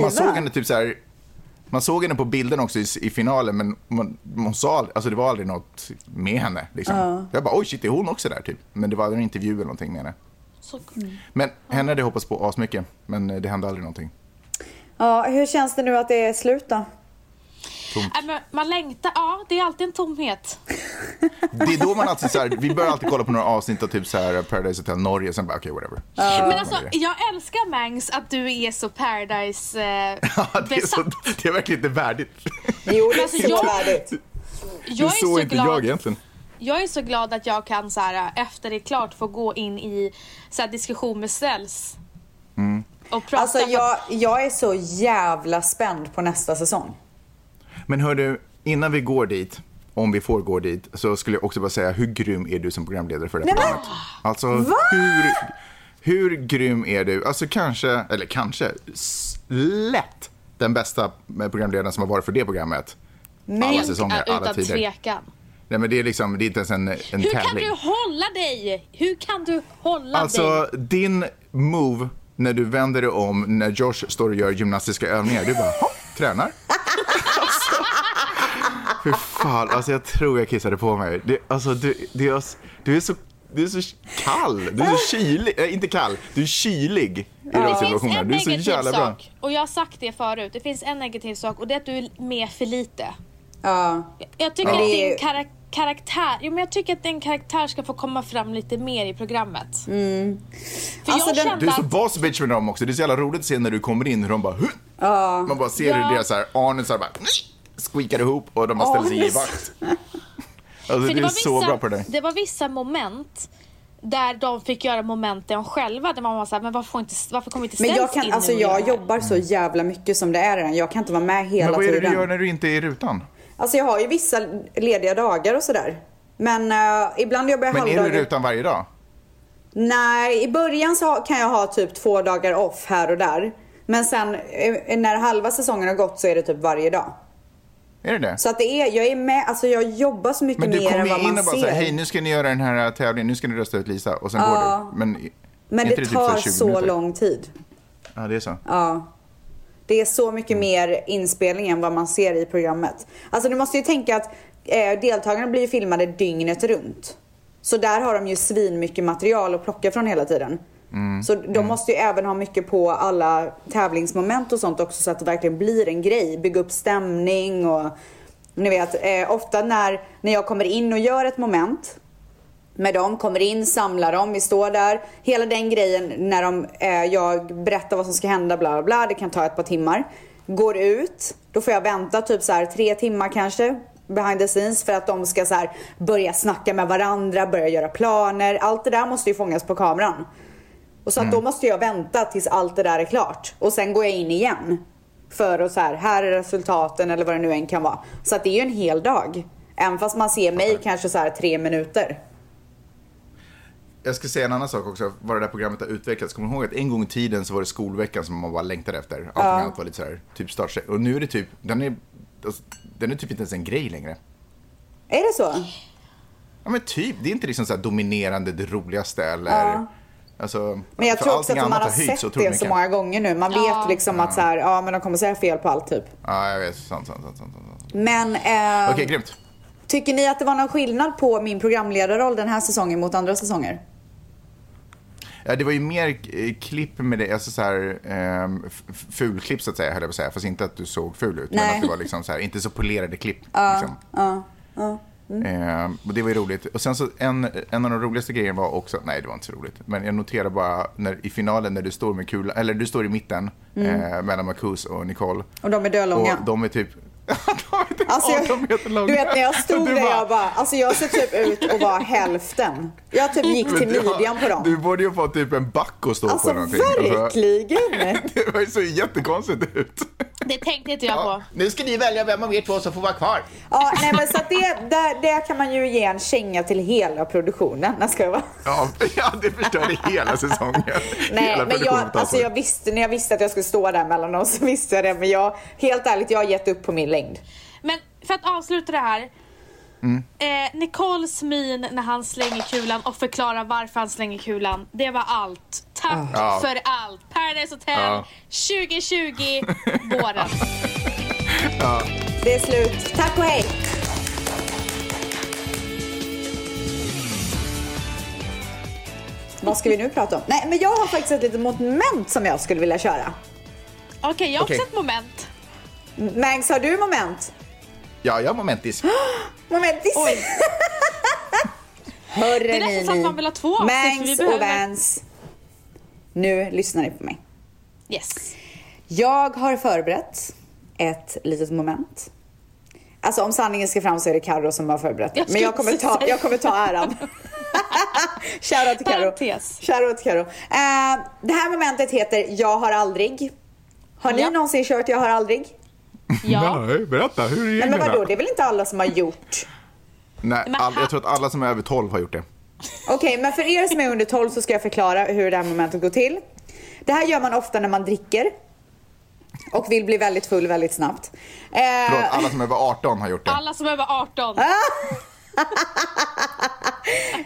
Speaker 3: Man såg henne typ så här... Man såg henne på bilden också i, i finalen, men man, hon sa aldrig- alltså det var aldrig något med henne. Liksom. Jag bara, oj shit, är hon också där? Typ. Men det var aldrig en intervju eller någonting med henne.
Speaker 2: Så,
Speaker 3: Men henne hade jag hoppats på asmycket, men eh, det hände aldrig någonting.
Speaker 1: Ja, hur känns det nu att det är slut då?
Speaker 2: Nej, Äh, men man längtar, ja det är alltid en tomhet.
Speaker 3: Det är då man alltid så här, vi börjar alltid kolla på några avsnitt av typ så här Paradise Hotel Norge, sen bara okej, whatever.
Speaker 2: Men alltså jag älskar Mangs att du är så paradise eh,
Speaker 3: [laughs] [laughs] Ja, det, är så,
Speaker 2: besatt.
Speaker 3: det är verkligen inte värdigt.
Speaker 1: Jo, det är
Speaker 2: Alltså, jag-
Speaker 1: så värdigt.
Speaker 3: Det är
Speaker 2: Jag är
Speaker 3: så
Speaker 2: så
Speaker 3: inte jag
Speaker 2: glad
Speaker 3: egentligen.
Speaker 2: Jag är så glad att jag kan så här, efter det är klart få gå in i så här, diskussion med Ställs.
Speaker 3: Mm.
Speaker 2: Och prata
Speaker 1: Alltså
Speaker 2: för-
Speaker 1: jag, jag är så jävla spänd på nästa säsong.
Speaker 3: Men hör du, innan vi går dit, om vi får gå dit, så skulle jag också bara säga hur grym är du som programledare för det här
Speaker 1: Nej, men-
Speaker 3: programmet? Alltså, hur, hur grym är du? Alltså kanske, eller kanske, s- lätt den bästa programledaren som har varit för det programmet. alla säsonger,
Speaker 2: utan
Speaker 3: alla tider.
Speaker 2: tvekan.
Speaker 3: Nej men det är liksom, det är inte ens en, en
Speaker 2: Hur kan
Speaker 3: tävling.
Speaker 2: du hålla dig? Hur kan du hålla dig?
Speaker 3: Alltså din move när du vänder dig om när Josh står och gör gymnastiska övningar, du bara "Hopp,
Speaker 2: [laughs]
Speaker 3: tränar. Alltså, Fy fan, alltså jag tror jag kissade på mig. Det, alltså du, det är, du är så du är så kall, du är så kylig, nej inte kall, du är kylig i de
Speaker 2: Det finns
Speaker 3: situationerna.
Speaker 2: en
Speaker 3: Du är så
Speaker 2: negativ
Speaker 3: jävla bra.
Speaker 2: sak, och jag har sagt det förut. Det finns en negativ sak och det är att du är med för lite.
Speaker 1: Ja.
Speaker 2: Jag tycker
Speaker 1: Ja.
Speaker 2: att
Speaker 1: Det
Speaker 2: din
Speaker 1: är-
Speaker 2: karak- karaktär, jo, men jag tycker att din karaktär ska få komma fram lite mer i programmet. För
Speaker 1: Alltså,
Speaker 2: jag
Speaker 1: den-
Speaker 2: kände
Speaker 3: Du är så
Speaker 2: att
Speaker 3: boss bitch med dem också, det är så jävla roligt att se när du kommer in hur de bara "Huh!" Man bara ser hur
Speaker 2: Ja.
Speaker 3: deras så här anusar bara squeakar ihop och de bara ställer sig i
Speaker 1: Anus.
Speaker 2: [laughs]
Speaker 3: vakt. Alltså
Speaker 2: För
Speaker 3: du är
Speaker 2: var
Speaker 3: så
Speaker 2: vissa,
Speaker 3: bra på det där.
Speaker 2: det var vissa moment där de fick göra momenten själva där man var såhär, men varför, får inte, varför kommer inte
Speaker 1: Men
Speaker 2: Stens
Speaker 1: jag
Speaker 2: in
Speaker 1: kan,
Speaker 2: nu
Speaker 1: alltså
Speaker 2: och göra
Speaker 1: jag
Speaker 2: det här?
Speaker 1: jobbar så jävla mycket som det är redan. Jag kan inte vara med hela
Speaker 3: Men vad är det
Speaker 1: tiden.
Speaker 3: du gör när du inte är i rutan?
Speaker 1: Alltså jag har ju vissa lediga dagar och sådär. Men eh, ibland jobbar jag
Speaker 3: Men är
Speaker 1: halvdagar.
Speaker 3: du i rutan varje dag?
Speaker 1: Nej, i början så ha- kan jag ha typ två dagar off här och där. Men sen eh, när halva säsongen har gått så är det typ varje dag.
Speaker 3: Är det det?
Speaker 1: Så att det är, jag är med, alltså jag jobbar så mycket
Speaker 3: Men du
Speaker 1: mer än
Speaker 3: kommer
Speaker 1: vad
Speaker 3: ju in
Speaker 1: man
Speaker 3: och bara
Speaker 1: ser.
Speaker 3: säger hej nu ska ni göra den här äh, tävlingen, nu ska ni rösta ut Lisa och sen
Speaker 1: Ja.
Speaker 3: går du. Men, är
Speaker 1: Men
Speaker 3: inte
Speaker 1: det
Speaker 3: typ här
Speaker 1: tar
Speaker 3: 20
Speaker 1: så
Speaker 3: minuter?
Speaker 1: lång tid.
Speaker 3: Ja, det är så.
Speaker 1: Ja. Det är så mycket mer inspelning än vad man ser i programmet. Alltså du måste ju tänka att eh, deltagarna blir ju filmade dygnet runt. Så där har de ju svin mycket material att plocka från hela tiden. Så de måste ju även ha mycket på alla tävlingsmoment och sånt också så att det verkligen blir en grej. Bygga upp stämning och ni vet, eh, ofta när, när jag kommer in och gör ett moment med dem, kommer in, samlar dem, vi står där. Hela den grejen när de, eh, jag berättar vad som ska hända, bla bla bla, det kan ta ett par timmar. Går ut, då får jag vänta typ så här tre timmar kanske behind the scenes för att de ska så här börja snacka med varandra, börja göra planer. Allt det där måste ju fångas på kameran. Och så att då måste jag vänta tills allt det där är klart och sen går jag in igen. För att så här, här är resultaten eller vad det nu än kan vara. Så att det är ju en hel dag. Även fast man ser mig kanske så här tre minuter.
Speaker 3: Jag ska säga en annan sak också, vad det där programmet har utvecklats. Kommer du ihåg att en gång i tiden så var det skolveckan som man bara längtade efter? Allt annat var lite så här, typ startsteg. Och nu är det typ, den är, alltså, den är typ inte ens en grej längre.
Speaker 1: Är det så?
Speaker 3: Ja men typ, det är inte liksom så här dominerande det roligaste eller... Alltså,
Speaker 1: Men jag
Speaker 3: för
Speaker 1: tror också
Speaker 3: allting
Speaker 1: att man
Speaker 3: annat
Speaker 1: har
Speaker 3: höjts
Speaker 1: sett
Speaker 3: otroligt
Speaker 1: det så
Speaker 3: mycket.
Speaker 1: många gånger nu. Man
Speaker 2: Ja.
Speaker 1: vet liksom att så här, ja men de kommer säga fel på allt typ.
Speaker 3: Ja, jag vet. Sant, sant, sant. sant, sant. Okej,
Speaker 1: Men eh,
Speaker 3: grymt.
Speaker 1: tycker ni att det var någon skillnad på min programledarroll den här säsongen mot andra säsonger?
Speaker 3: Ja, det var ju mer eh, klipp med det, alltså så här, ehm, f- f- fulklipp så att säga, höll jag på att säga. Fast inte att du såg ful ut, men
Speaker 1: Nej.
Speaker 3: att det var liksom så här, inte så polerade klipp. liksom.
Speaker 1: Mm.
Speaker 3: Ehm, och det var ju roligt. Och sen så en, en av de roligaste grejerna var också, nej det var inte så roligt, men jag noterar bara när, i finalen när du står med kula, eller du står i mitten eh, mellan Marcus och Nicole.
Speaker 1: Mm. Och de är dödlånga.
Speaker 3: Och de är typ, [laughs] de är typ
Speaker 1: Alltså,
Speaker 3: 18
Speaker 1: jag,
Speaker 3: meter långa.
Speaker 1: du vet när jag stod
Speaker 3: Du
Speaker 1: där jag bara, alltså jag ser typ ut att vara hälften. Jag typ gick till
Speaker 3: Men du har-
Speaker 1: midjan på
Speaker 3: Du
Speaker 1: dem.
Speaker 3: borde ju få typ en back att stå
Speaker 1: Alltså
Speaker 3: på någonting. Alltså,
Speaker 1: verkligen.
Speaker 3: [laughs] Det var ju så jättekonstigt ut.
Speaker 2: Det tänkte inte jag på.
Speaker 3: Nu ska ni välja vem av er två som får vara kvar.
Speaker 1: Ja, nej men så att det, där, där kan man ju ge en känga till hela produktionen. Nej, ska jag vara.
Speaker 3: Ja, [laughs] ja, det förstörde hela säsongen.
Speaker 1: [laughs] Nej, men
Speaker 3: hela
Speaker 1: jag,
Speaker 3: produktionen tar
Speaker 1: alltså
Speaker 3: sig.
Speaker 1: jag visste, när jag visste att jag skulle stå där mellan dem så visste jag det. Men jag, helt ärligt, jag har gett upp på min längd.
Speaker 2: Men för att avsluta det här. Eh, Nicoles min när han slänger kulan och förklarar varför han slänger kulan. Det var allt. Tack
Speaker 3: Ja.
Speaker 2: för allt. Paradise Hotel
Speaker 3: Ja. [laughs]
Speaker 2: 2020, våren.
Speaker 1: Det är slut. Tack och hej! Vad ska vi nu prata om? Nej, men jag har faktiskt ett litet moment som jag skulle vilja köra.
Speaker 2: Okej, jag har också
Speaker 3: Okej.
Speaker 2: ett moment.
Speaker 1: Mangs, har du moment?
Speaker 3: Ja, jag
Speaker 1: [gasps]
Speaker 3: är momentis.
Speaker 1: Momentis!
Speaker 2: Oj.
Speaker 1: Hörru
Speaker 2: Det är nästan så att man vill ha två avsnitt, för vi
Speaker 1: Mangs och
Speaker 2: behöver-
Speaker 1: Vans. Nu lyssnar ni på mig.
Speaker 2: Yes.
Speaker 1: Jag har förberett ett litet moment. Alltså om sanningen ska fram så är det Karo som har förberett det.
Speaker 2: Jag
Speaker 1: Men jag
Speaker 2: skulle
Speaker 1: kommer, ta,
Speaker 2: säga-
Speaker 1: jag kommer ta
Speaker 2: [laughs]
Speaker 1: äran. Shoutout till Karo.
Speaker 2: Parentes.
Speaker 1: Shoutout till Karo. Eh, det här momentet heter Jag har aldrig. Har ni
Speaker 2: Ja.
Speaker 1: någonsin kört Jag har aldrig?
Speaker 2: Ja.
Speaker 3: Nej, berätta. Hur är
Speaker 1: Nej
Speaker 3: reglerna?
Speaker 1: men vadå, det är väl inte alla som har gjort?
Speaker 3: Nej,
Speaker 2: Men
Speaker 3: all,
Speaker 2: ha-
Speaker 3: jag tror att alla som är över 12 har gjort det.
Speaker 1: Okej, men för er som är under 12 så ska jag förklara hur det här momentet går till. Det här gör man ofta när man dricker och vill bli väldigt full väldigt snabbt. Eh,
Speaker 3: Förlåt, alla som är över 18 har gjort det.
Speaker 2: Alla som är över 18.
Speaker 1: Äh?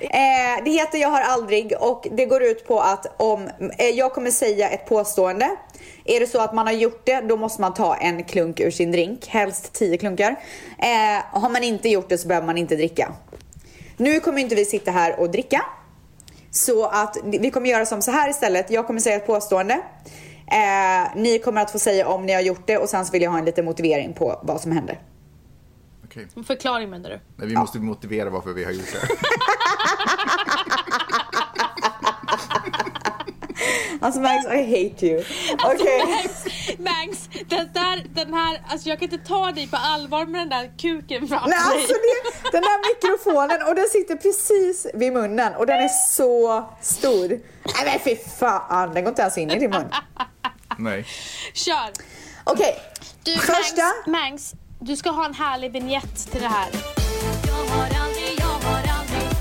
Speaker 1: Eh, det heter Jag har aldrig och det går ut på att om eh, jag kommer säga ett påstående. Är det så att man har gjort det, då måste man ta en klunk ur sin drink. Helst 10 klunkar. Eh, har man inte gjort det så behöver man inte dricka. Nu kommer inte vi sitta här och dricka. Så att vi kommer göra som så här istället. Jag kommer säga ett påstående. Eh, ni kommer att få säga om ni har gjort det och sen så vill jag ha en liten motivering på vad som händer.
Speaker 3: Okej.
Speaker 2: En Förklaring menar du?
Speaker 3: Nej, vi måste motivera varför vi har
Speaker 1: [laughs]
Speaker 3: gjort det.
Speaker 1: Alltså Max, I hate you. Okej.
Speaker 2: [laughs] Max, Max den, där, den här, alltså jag kan inte ta dig på allvar med den där kuken framför
Speaker 1: Nej,
Speaker 2: dig.
Speaker 1: alltså det, den där mikrofonen och den sitter precis vid munnen och den är så stor. Nej men fy fan, den går inte ens in i din mun.
Speaker 3: Nej.
Speaker 2: Kör!
Speaker 1: Okej,
Speaker 2: Du,
Speaker 1: Första.
Speaker 2: Mangs, Mangs, du ska ha en härlig vignett till det här.
Speaker 4: Jag har aldrig, jag har aldrig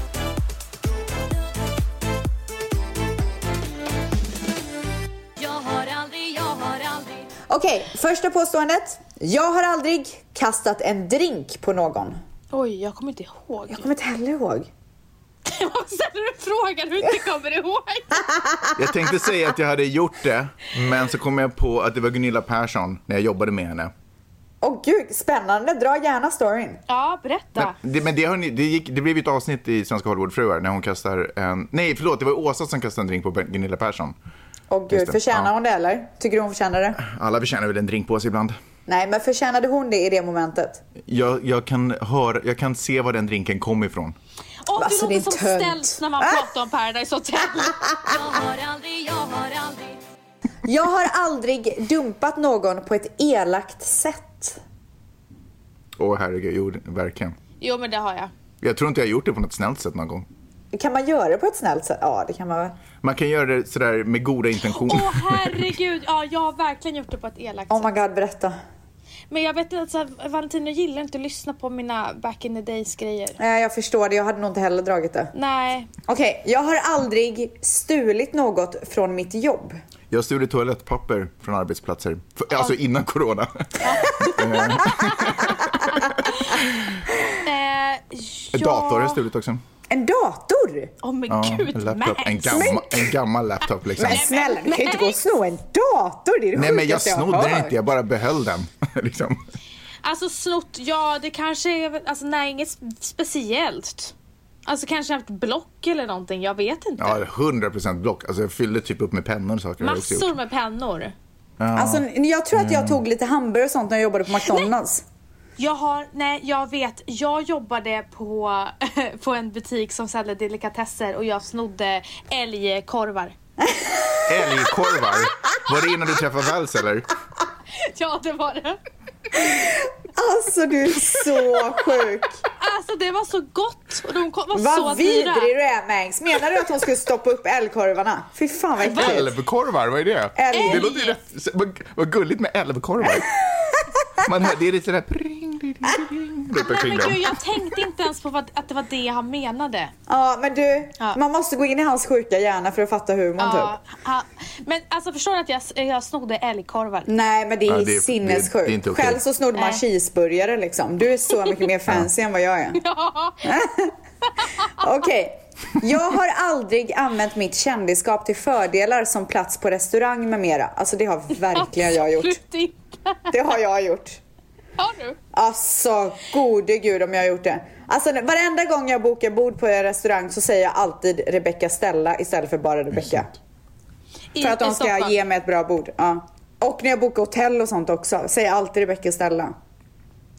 Speaker 4: Jag har aldrig, jag har aldrig
Speaker 1: okej, första påståendet. Jag har aldrig kastat en drink på någon.
Speaker 2: Oj, jag kommer [laughs] inte ihåg.
Speaker 1: Jag kommer inte heller ihåg.
Speaker 2: Vad ställer du frågan du inte kommer ihåg?
Speaker 3: Jag tänkte säga att jag hade gjort det, men så kom jag på att det var Gunilla Persson när jag jobbade med henne.
Speaker 1: Åh gud, spännande. Dra gärna storyn.
Speaker 2: Ja, berätta.
Speaker 3: Men, det, men det, har ni, det, gick, det blev ju ett avsnitt i Svenska Hollywoodfruar när hon kastar en... Nej, förlåt, det var Åsa som kastade en drink på Ben- Gunilla Persson.
Speaker 1: Åh
Speaker 3: Just
Speaker 1: gud,
Speaker 3: det,
Speaker 1: förtjänar
Speaker 3: ja.
Speaker 1: hon det eller? Tycker du hon förtjänar det?
Speaker 3: Alla förtjänar väl en drink på sig ibland.
Speaker 1: Nej, men förtjänade hon det i det momentet?
Speaker 3: Jag, jag, kan, höra, jag kan se var den drinken kom ifrån.
Speaker 2: Åh,
Speaker 1: Alltså,
Speaker 2: du
Speaker 1: det är
Speaker 2: låter som
Speaker 1: tönt. Ah!
Speaker 2: ställt när man pratar om
Speaker 1: [laughs]
Speaker 2: Paradise Hotel.
Speaker 4: Jag har aldrig, jag har aldrig
Speaker 1: Jag har aldrig dumpat någon på ett elakt sätt.
Speaker 3: Åh herregud, jo, verkligen.
Speaker 2: Jo, men det har jag.
Speaker 3: Jag tror inte jag har gjort det på något snällt sätt någon gång.
Speaker 1: Kan man göra det på ett snällt sätt? Ja, det kan man väl.
Speaker 3: Man kan göra det sådär med goda
Speaker 2: Åh,
Speaker 3: intentioner.
Speaker 2: herregud. Ja, jag har verkligen gjort det på ett elakt
Speaker 1: Oh
Speaker 2: sätt.
Speaker 1: my god, berätta.
Speaker 2: Men jag vet inte, alltså, Valentino gillar inte att lyssna på mina back in the days grejer.
Speaker 1: Nej, jag förstår det. Jag hade nog inte heller dragit det.
Speaker 2: Nej,
Speaker 1: Okej, jag har aldrig stulit något från mitt jobb.
Speaker 3: [laughs] Jag har stulit toalettpapper från arbetsplatser. För, alltså innan corona.
Speaker 2: Eh, ja...
Speaker 3: Dator har jag stulit också.
Speaker 1: En dator!
Speaker 2: Åh men
Speaker 3: Ja, en,
Speaker 2: gud,
Speaker 3: laptop, en,
Speaker 2: Max.
Speaker 3: gammal, en gammal laptop liksom.
Speaker 1: Men snälla, du kan ju inte gå och sno en dator! Det är det
Speaker 3: Nej men jag
Speaker 1: sjukaste har
Speaker 3: snodde den
Speaker 1: hört.
Speaker 3: inte, jag bara behöll den. [laughs] liksom.
Speaker 2: Alltså snott, ja det kanske är, väl- alltså nej inget sp- speciellt. Alltså kanske haft block eller någonting, jag vet inte.
Speaker 3: Ja, 100% block. Alltså jag fyllde typ upp med pennor och saker. har jag också gjort.
Speaker 2: Massor med pennor.
Speaker 1: Alltså, jag tror att jag tog lite hamburgare och sånt när jag jobbade på McDonalds.
Speaker 2: Jag har, nej jag vet, jag jobbade på, [laughs] på en butik som säljer delikatesser och jag snodde älgkorvar. [laughs]
Speaker 3: Älgkorvar. Var det innan du träffade Vals eller?
Speaker 2: Ja det var det.
Speaker 1: Alltså du är så sjuk.
Speaker 2: Alltså det var så gott och de kom- var så
Speaker 1: Vad
Speaker 2: dyra.
Speaker 1: vidrig du är Mangs. Menar du att hon skulle stoppa upp älgkorvarna? Fy fan vad äckligt.
Speaker 3: Älvkorvar, vad är det?
Speaker 1: Älg.
Speaker 3: Det låter ju rätt... Vad, vad gulligt med älvkorvar. Man hör, det är lite sådär... Pring, pring, pring, pring,
Speaker 2: Nej
Speaker 3: kring
Speaker 2: men
Speaker 3: dem.
Speaker 2: gud jag tänkte inte ens på vad, att det var det han menade.
Speaker 1: Ja men du,
Speaker 2: Ja.
Speaker 1: man måste gå in i hans sjuka hjärna för att fatta humorn
Speaker 2: Ja,
Speaker 1: typ.
Speaker 2: han, men alltså förstår du att jag, jag snodde älgkorvar?
Speaker 1: Nej men det är
Speaker 3: Ja, det är-
Speaker 1: sinnessjukt.
Speaker 3: det är- det är inte okej.
Speaker 1: Själv så snodde man
Speaker 2: Nej.
Speaker 1: cheeseburgare liksom. Du är så mycket mer fancy än vad jag
Speaker 2: [laughs]
Speaker 1: är.
Speaker 2: [laughs] Ja,
Speaker 1: Okej. Jag har aldrig använt mitt kändisskap till fördelar som plats på restaurang med mera. Alltså det har verkligen jag gjort.
Speaker 2: absolut inte. [laughs]
Speaker 1: Det har jag gjort.
Speaker 2: Har du?
Speaker 1: Alltså gode gud om jag har gjort det. Alltså varenda gång jag bokar bord på en restaurang så säger jag alltid Rebecca Stella istället för bara Rebecca.
Speaker 2: I,
Speaker 1: För att
Speaker 2: i
Speaker 1: de ska
Speaker 2: Stockholm.
Speaker 1: ge mig ett bra bord. Ja. Och när jag bokar hotell och sånt också säger jag alltid Rebecca Stella.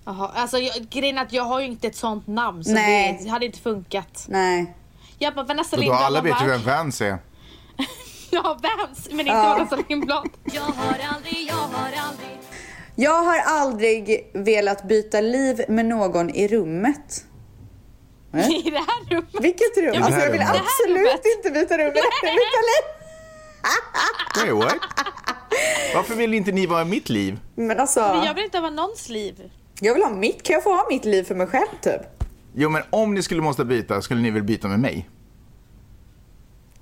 Speaker 2: Jaha, alltså jag, grejen är att jag har ju inte ett sånt namn så
Speaker 1: Nej.
Speaker 2: Nej. Det, hade inte funkat.
Speaker 1: Nej.
Speaker 2: Jag bara Vanessa
Speaker 3: Då
Speaker 2: Lindblad.
Speaker 3: alla
Speaker 2: man
Speaker 3: vet ju
Speaker 2: bara,
Speaker 3: vem Vans är.
Speaker 2: [laughs] Ja, vems? Men inte
Speaker 1: Ja.
Speaker 2: Vanessa
Speaker 1: [laughs]
Speaker 2: Lindblad.
Speaker 4: Jag har aldrig, jag har aldrig
Speaker 1: Jag har aldrig velat byta liv med någon i rummet.
Speaker 2: I det här rummet.
Speaker 1: Vilket rum?
Speaker 3: men
Speaker 1: Alltså
Speaker 3: det här
Speaker 1: jag vill
Speaker 3: rummet.
Speaker 2: Det här
Speaker 1: absolut
Speaker 2: rummet.
Speaker 1: inte byta rum med byta liv.
Speaker 3: Wait, what? Varför vill inte ni vara i mitt liv?
Speaker 1: Men alltså,
Speaker 2: Men jag vill inte ha någons liv.
Speaker 1: jag vill ha mitt. Kan jag få ha mitt liv för mig själv typ?
Speaker 3: Jo, men om ni skulle måste byta, skulle ni väl byta med mig?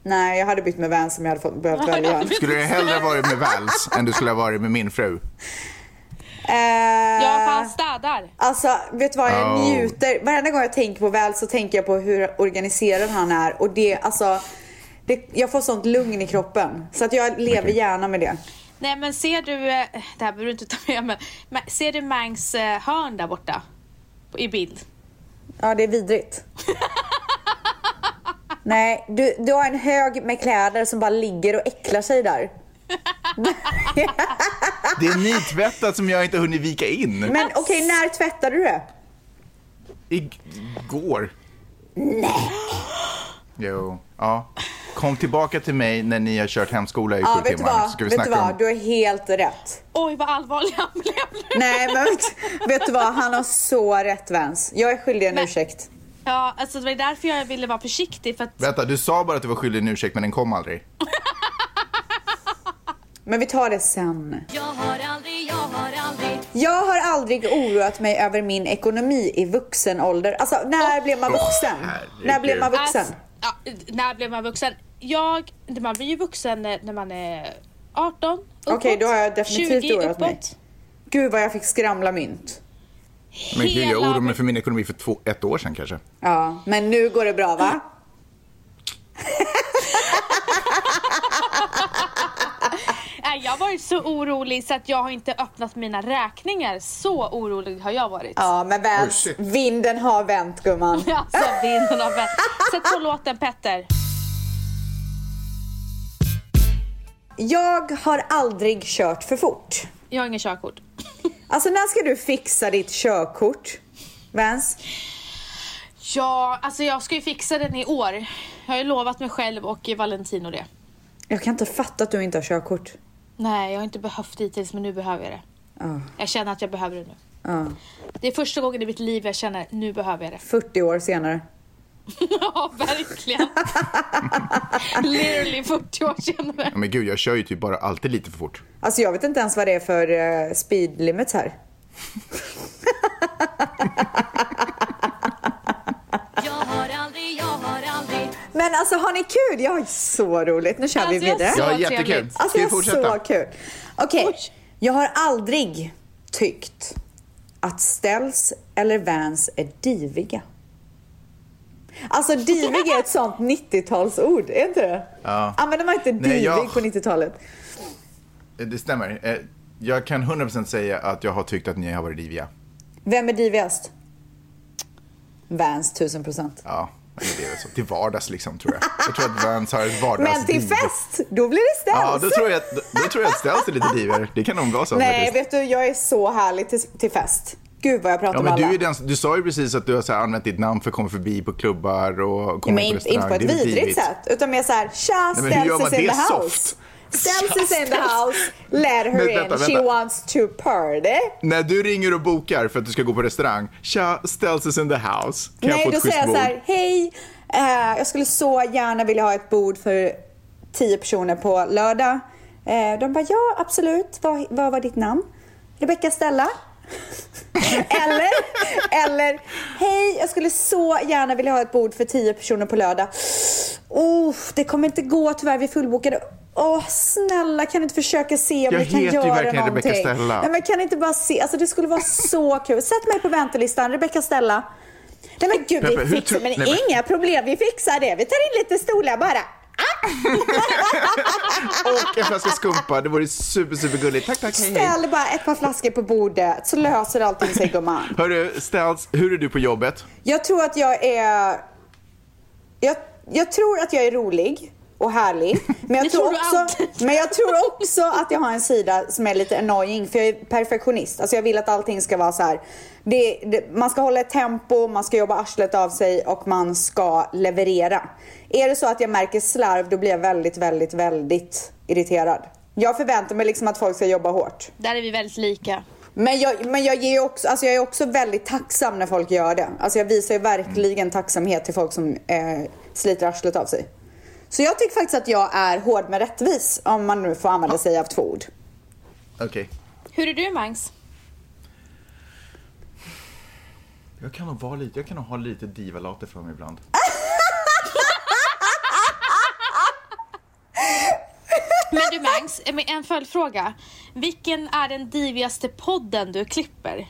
Speaker 1: Nej, jag hade bytt med vän som jag hade fått, behövt
Speaker 2: Ja,
Speaker 1: välja.
Speaker 2: jag vet.
Speaker 3: Skulle du hellre ha varit med Vals än du skulle ha varit med min fru?
Speaker 1: Eh,
Speaker 2: Jag fan städar.
Speaker 1: Alltså, vet du vad? Jag
Speaker 3: Oh.
Speaker 1: njuter. Varenda gång jag tänker på Väl så tänker jag på hur organiserad han är. Och det, alltså, det, jag får sånt lugn i kroppen. Så att jag lever
Speaker 3: Okej.
Speaker 1: gärna med det.
Speaker 2: Nej men ser du, eh, det här behöver du inte ta med men, men ser du Mangs eh, hörn där borta? I bild.
Speaker 1: Ja, det är [laughs] vidrigt. Nej, du, du har en hög med kläder som bara ligger och äcklar sig där.
Speaker 3: Det är nytvättat som jag inte hunnit vika in.
Speaker 1: Men okej, när tvättade du det?
Speaker 3: Igår. Nej. Jo. Ja. Kom tillbaka till mig när ni har kört hemskola i
Speaker 1: Ja,
Speaker 3: sju
Speaker 1: vet du
Speaker 3: timmar.
Speaker 1: vad?
Speaker 3: så Ska vi
Speaker 1: vet du
Speaker 3: snacka
Speaker 1: vad?
Speaker 3: om...
Speaker 1: Du har helt rätt.
Speaker 2: Oj vad allvarlig han blev nu.
Speaker 1: Nej, [laughs] men vet, vet du vad? Han har så rätt, Vens. Jag är skyldig en
Speaker 2: Men-
Speaker 1: ursäkt.
Speaker 2: [laughs] Ja, alltså det var därför jag ville vara försiktig för att
Speaker 3: Vänta, du sa bara att du var skyldig en ursäkt men den kom aldrig.
Speaker 1: Men vi tar det sen.
Speaker 4: Jag har aldrig, jag har aldrig
Speaker 1: Jag har aldrig oroat mig över min ekonomi i vuxen ålder. Alltså när blev man vuxen?
Speaker 3: herregud.
Speaker 1: när blev man vuxen?
Speaker 2: Alltså, ja, när blev man vuxen? Jag, man blir ju vuxen när när man är 18 uppåt,
Speaker 1: Okej, då har jag definitivt
Speaker 2: 20
Speaker 1: oroat
Speaker 2: uppåt.
Speaker 1: mig. Gud vad jag fick skramla mynt.
Speaker 3: Men gud, jag
Speaker 2: Hela
Speaker 3: oroade mig
Speaker 2: min-
Speaker 3: för min ekonomi för två, ett år sedan kanske.
Speaker 1: Ja, men nu går det bra va?
Speaker 2: Nej, jag har varit så orolig så att jag har inte öppnat mina räkningar. Så orolig har jag varit.
Speaker 1: Ja, men
Speaker 3: Oj,
Speaker 1: vänt.
Speaker 3: shit.
Speaker 1: vinden har vänt gumman.
Speaker 2: [laughs] Alltså vinden har vänt. Sätt på låten Petter.
Speaker 1: Jag har aldrig kört för fort.
Speaker 2: Jag har ingen körkort.
Speaker 1: Alltså när ska du fixa ditt körkort? Vans?
Speaker 2: Ja, alltså jag ska ju fixa den i år. Jag har ju lovat mig själv och Valentino det.
Speaker 1: Jag kan inte fatta att du inte har körkort.
Speaker 2: Nej, jag har inte behövt det hittills men nu behöver jag det.
Speaker 1: Ja.
Speaker 2: Jag känner att jag behöver det nu.
Speaker 1: Ja.
Speaker 2: Det är första gången i mitt liv jag känner nu behöver jag det.
Speaker 1: 40 år senare.
Speaker 2: [laughs] Ja, verkligen. Literally 40 år senare.
Speaker 3: Ja, Men gud, jag kör ju typ bara alltid lite för fort.
Speaker 1: Alltså jag vet inte ens vad det är för eh, speed limits här.
Speaker 4: Jag har aldrig, jag har aldrig
Speaker 1: Men alltså har ni kul? Jag har så roligt. Nu kör vi
Speaker 2: Alltså, jag
Speaker 1: vidare.
Speaker 2: Så
Speaker 3: Jag har jättekul.
Speaker 2: trevligt.
Speaker 3: Ska
Speaker 1: Alltså
Speaker 3: vi
Speaker 1: jag har
Speaker 3: fortsätta?
Speaker 1: så kul. Okej,
Speaker 2: Oj.
Speaker 1: jag har aldrig tyckt att Stells eller Vans är diviga. Alltså divig är ett sånt 90-talsord, är inte det?
Speaker 3: Ja.
Speaker 1: Använder man inte divig
Speaker 3: jag-
Speaker 1: på 90-talet?
Speaker 3: Eh, Det stämmer. Eh, Jag kan 100% säga att jag har tyckt att ni har varit diviga.
Speaker 1: Vem är divigast? Vans 1000 procent.
Speaker 3: Ja, men det är väl så. Till vardags liksom, tror jag. Jag tror att Vans har ett vardagsliv.
Speaker 1: Men till fest, då blir det Stells.
Speaker 3: alltså, Ja, då tror jag att, då tror jag att Ställs är lite divigare. Det kan nog vara så
Speaker 1: Alltså! Nej,
Speaker 3: faktiskt.
Speaker 1: vet du, jag är så härlig till, till fest. Gud vad jag pratar
Speaker 3: Ja,
Speaker 1: om
Speaker 3: men
Speaker 1: alla.
Speaker 3: du, är den, du sa ju precis att du har så här använt ditt namn för att komma förbi på klubbar och
Speaker 1: Men
Speaker 3: komma på
Speaker 1: inte,
Speaker 3: restaurang.
Speaker 1: inte på ett
Speaker 3: Det är väl
Speaker 1: vidrigt
Speaker 3: divigt.
Speaker 1: sätt, utan mer såhär tja
Speaker 3: Nej, men hur gör
Speaker 1: ställs
Speaker 3: man
Speaker 1: is in
Speaker 3: det
Speaker 1: the house.
Speaker 3: soft?
Speaker 1: Cells is in the house, let her
Speaker 3: Men
Speaker 1: in,
Speaker 3: vänta,
Speaker 1: she
Speaker 3: vänta.
Speaker 1: wants to party.
Speaker 3: När du ringer och bokar för att du ska gå på restaurang, tja, ställs is in the house. Kan jag
Speaker 1: Nej,
Speaker 3: få
Speaker 1: då
Speaker 3: ett
Speaker 1: säger
Speaker 3: schysst
Speaker 1: jag så
Speaker 3: bord?
Speaker 1: här, hej, eh, jag skulle så gärna vilja ha ett bord för tio personer på lördag. Eh, de bara, ja absolut, vad, vad var ditt namn? Rebecca Stella? [laughs] eller, eller, hej, jag skulle så gärna vilja ha ett bord för tio personer på lördag. Oh, det kommer inte gå tyvärr, vi är fullbokade. Åh, snälla kan du inte försöka se om
Speaker 3: Jag
Speaker 1: vi kan
Speaker 3: heter ju
Speaker 1: göra
Speaker 3: verkligen Rebecca
Speaker 1: någonting?
Speaker 3: Stella.
Speaker 1: Nej, men kan inte bara se, alltså det skulle vara så kul. Sätt mig på väntelistan, Rebecca Stella. Nej men gud,
Speaker 3: Peppe,
Speaker 1: vi
Speaker 3: hur
Speaker 1: fixar,
Speaker 3: tro-
Speaker 1: men
Speaker 3: Nej, men-
Speaker 1: inga problem, vi fixar det. Vi tar in lite stolar bara.
Speaker 3: Och en flaska skumpa, det vore super, super gulligt. Tack, tack, hej, hej.
Speaker 1: Ställ bara ett par flaskor på bordet så löser allting sig gumman.
Speaker 3: Hörru, ställs, hur är du på jobbet?
Speaker 1: Jag tror att jag är... Jag, jag tror att jag är rolig och härlig. Men
Speaker 2: Det
Speaker 1: jag, tror
Speaker 2: tror du
Speaker 1: också,
Speaker 2: alltid.
Speaker 1: men jag tror också att jag har en sida som är lite annoying. För jag är perfektionist. Alltså jag vill att allting ska vara så här. Det, det, man ska hålla ett tempo, man ska jobba arslet av sig och man ska leverera. Är det så att jag märker slarv då blir jag väldigt, väldigt, väldigt irriterad. Jag förväntar mig liksom att folk ska jobba hårt.
Speaker 2: Där är vi väldigt lika.
Speaker 1: Men jag, men jag, ger ju också, alltså jag är också väldigt tacksam när folk gör det. Alltså jag visar ju
Speaker 3: Mm.
Speaker 1: verkligen tacksamhet till folk som eh, sliter arslet av sig. Så jag tycker faktiskt att jag är hård men rättvis om man nu får använda sig av två ord.
Speaker 3: Okej.
Speaker 2: Hur är du Mangs?
Speaker 3: Jag kan nog vara lite, jag kan nog ha lite divalater för mig ibland.
Speaker 2: Men du Mangs, eh, men en följdfråga. Vilken är den divigaste podden du klipper?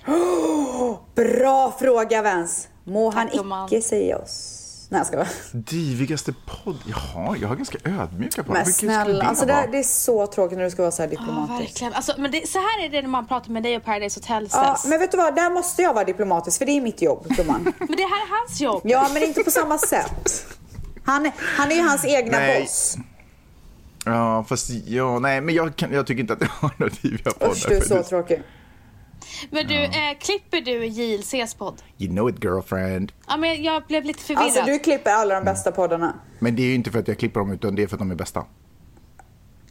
Speaker 1: Bra fråga Vens. Må han
Speaker 2: gumman.
Speaker 1: icke säga oss. Nej jag ska vara.
Speaker 3: Divigaste podd? Jaha, jag har ganska ödmjuka på
Speaker 1: Men
Speaker 3: Vilken skulle
Speaker 1: snälla.
Speaker 3: det
Speaker 1: Alltså det,
Speaker 3: vara?
Speaker 1: det är så tråkigt när du ska vara så här
Speaker 2: Ja,
Speaker 1: diplomatisk.
Speaker 2: verkligen. Alltså, men det, så här är det när man pratar med dig och Paradise Hotel
Speaker 1: Ja,
Speaker 2: Cells.
Speaker 1: men vet du vad, där måste jag vara diplomatisk för det är mitt jobb gumman.
Speaker 2: men... det här är hans jobb.
Speaker 1: Ja men inte på samma sätt. Han, är- han är ju hans egna
Speaker 3: Nej.
Speaker 1: boss.
Speaker 3: Ja, fast ja, nej, men jag, kan, jag tycker inte att jag har några diviga poddar.
Speaker 1: Usch du är
Speaker 3: för
Speaker 1: så
Speaker 3: det-
Speaker 1: tråkig.
Speaker 2: Men du, eh, klipper du JLCs podd?
Speaker 3: You know it girlfriend.
Speaker 2: Ja, men jag blev lite förvirrad.
Speaker 1: Alltså du klipper alla
Speaker 3: Mm.
Speaker 1: de bästa poddarna.
Speaker 3: Men det är ju inte för att jag klipper dem utan det är för att de är bästa.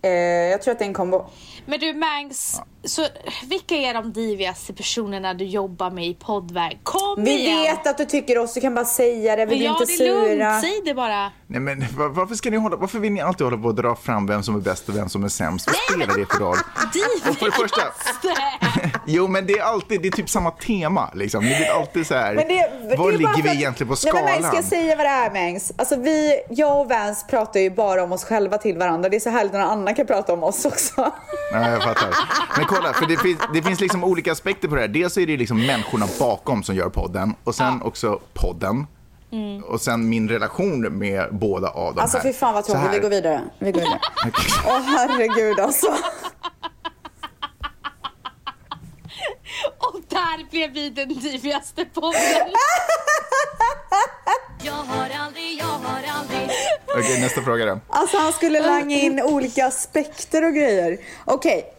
Speaker 1: Eh, jag tror att det är en kombo.
Speaker 2: Men du Mangs, så, vilka är de divigaste personerna du jobbar med i poddvärld? Kom
Speaker 1: Vi
Speaker 2: igen!
Speaker 1: vet att du tycker oss, du kan bara säga det. Vi blir
Speaker 2: ja,
Speaker 1: inte
Speaker 2: det är
Speaker 1: sura.
Speaker 2: lugnt, säg det bara.
Speaker 3: Nej men va- varför ska ni hålla, varför vill ni alltid hålla på och dra fram vem som är bäst och vem som är sämst? Vad spelar det för roll? Och för det första, [laughs] jo men det är alltid, det är typ samma tema liksom. Ni vill alltid så här,
Speaker 1: Men det-
Speaker 3: var
Speaker 1: det är bara
Speaker 3: ligger
Speaker 1: för
Speaker 3: vi
Speaker 1: att-
Speaker 3: egentligen på
Speaker 1: Nej,
Speaker 3: skalan?
Speaker 1: men Mangs, ska jag säga vad det är Mangs? Alltså vi, jag och Vans pratar ju bara om oss själva till varandra. Det är så härligt när någon annan kan prata om oss
Speaker 3: [laughs]
Speaker 1: också.
Speaker 3: Ja, jag fattar. Men kolla, för det finns, det finns liksom olika aspekter på det här. Dels är det ju liksom människorna bakom som gör podden och sen också podden. Och sen min relation med båda av dem
Speaker 1: Mm. Alltså
Speaker 3: här.
Speaker 1: fy fan vad
Speaker 3: Så
Speaker 1: tråkigt,
Speaker 3: här.
Speaker 1: vi går vidare. Vi går
Speaker 3: [laughs]
Speaker 1: vidare. Åh herregud alltså.
Speaker 2: Och där blev vi den divigaste
Speaker 1: [laughs]
Speaker 2: podden.
Speaker 4: Jag har aldrig, jag har aldrig
Speaker 3: Okej, nästa fråga då.
Speaker 1: Alltså han skulle langa in olika aspekter och grejer. Okej.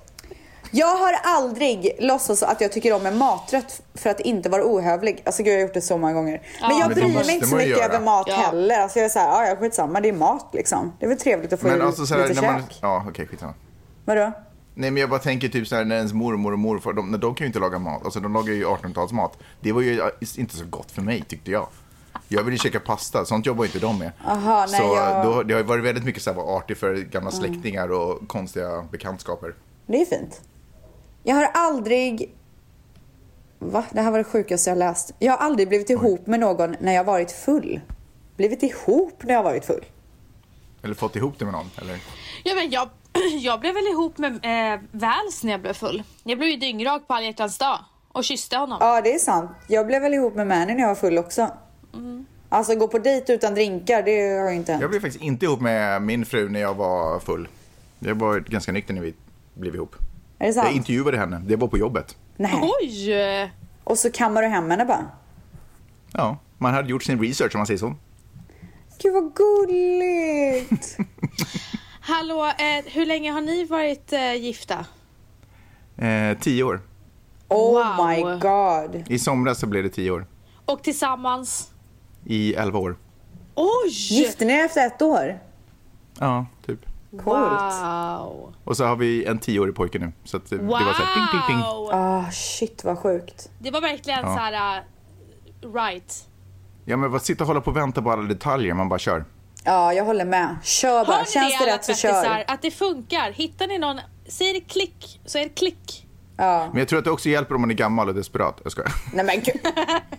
Speaker 1: Jag har aldrig låtsats att jag tycker om en maträtt för att inte vara ohövlig. Alltså gud, jag har gjort det så många gånger. Men jag
Speaker 3: Men det
Speaker 1: bryr mig
Speaker 3: måste
Speaker 1: inte så
Speaker 3: man ju
Speaker 1: mycket
Speaker 3: göra.
Speaker 1: över mat
Speaker 2: Ja.
Speaker 1: heller. Alltså jag är såhär, ja ja skitsamma, det är mat liksom. Det är väl trevligt att få
Speaker 3: Men
Speaker 1: i
Speaker 3: alltså så här,
Speaker 1: lite
Speaker 3: när man...
Speaker 1: käk.
Speaker 3: Ja, okej, skitsamma.
Speaker 1: Vadå?
Speaker 3: Nej men jag bara tänker typ så här när ens mormor och morfar, de, de kan ju inte laga mat. Alltså de lagar ju 1800-talsmat. Det var ju eh, inte så gott för mig tyckte jag. Jag ville käka pasta, sånt jobbar ju inte de med.
Speaker 1: Aha, nej,
Speaker 3: så
Speaker 1: jag-
Speaker 3: då, det har ju varit väldigt mycket så här vad artig för gamla släktingar och konstiga bekantskaper.
Speaker 1: Det är fint. Jag har aldrig... Va? Det här var det sjukaste jag läst. Jag har aldrig blivit ihop med någon när jag varit full. Blivit ihop när jag varit full?
Speaker 3: Eller fått ihop det med någon, eller?
Speaker 2: Ja, men jag, [clears throat] jag blev väl ihop med eh, Väls när jag blev full. Jag blev ju dyngrak på alla hjärtans dag och kysste honom.
Speaker 1: Ja, det är sant. Jag blev väl ihop med Mani när jag var full också.
Speaker 2: Mm.
Speaker 1: Alltså gå på dejt utan drinkar, det har ju inte hänt.
Speaker 3: Jag blev faktiskt inte ihop med min fru när jag var full. Jag var ganska nykter när vi blev ihop.
Speaker 1: Är det sant?
Speaker 3: Jag intervjuade henne, det var på jobbet.
Speaker 1: Nej.
Speaker 2: Oj!
Speaker 1: Och så kammar du hem henne bara.
Speaker 3: Ja, man hade gjort sin research om man säger så.
Speaker 1: Gud vad
Speaker 2: [laughs]
Speaker 1: gulligt!
Speaker 2: Hallå, eh, hur länge har ni varit eh, gifta?
Speaker 3: Eh, tio år.
Speaker 1: Oh
Speaker 2: Wow.
Speaker 1: my god.
Speaker 3: I somras så blev det tio år.
Speaker 2: Och tillsammans?
Speaker 3: I elva år.
Speaker 2: Oj!
Speaker 1: Gifte ni er efter ett år?
Speaker 3: Ja, typ.
Speaker 1: Coolt.
Speaker 2: Wow.
Speaker 3: Och så har vi en tioårig pojke nu. Så att det det var så här, ding, ding, ding.
Speaker 2: Wow.
Speaker 1: Ah, shit vad sjukt.
Speaker 2: Det var verkligen
Speaker 3: Ja.
Speaker 2: så här uh, right.
Speaker 3: Ja, men vad sitta och hålla på och vänta på alla detaljer, man bara kör.
Speaker 1: Ja, jag håller med. Kör bara.
Speaker 2: Hör ni
Speaker 1: Känns det
Speaker 2: alla
Speaker 1: rätt så
Speaker 2: tvättisar?
Speaker 1: kör.
Speaker 2: Att det funkar. Hittar ni någon, säger det klick så är det klick.
Speaker 1: Ja.
Speaker 3: Men jag tror att det också hjälper om man är gammal och desperat. Jag
Speaker 2: [laughs]
Speaker 3: skojar.
Speaker 1: Nej men gud,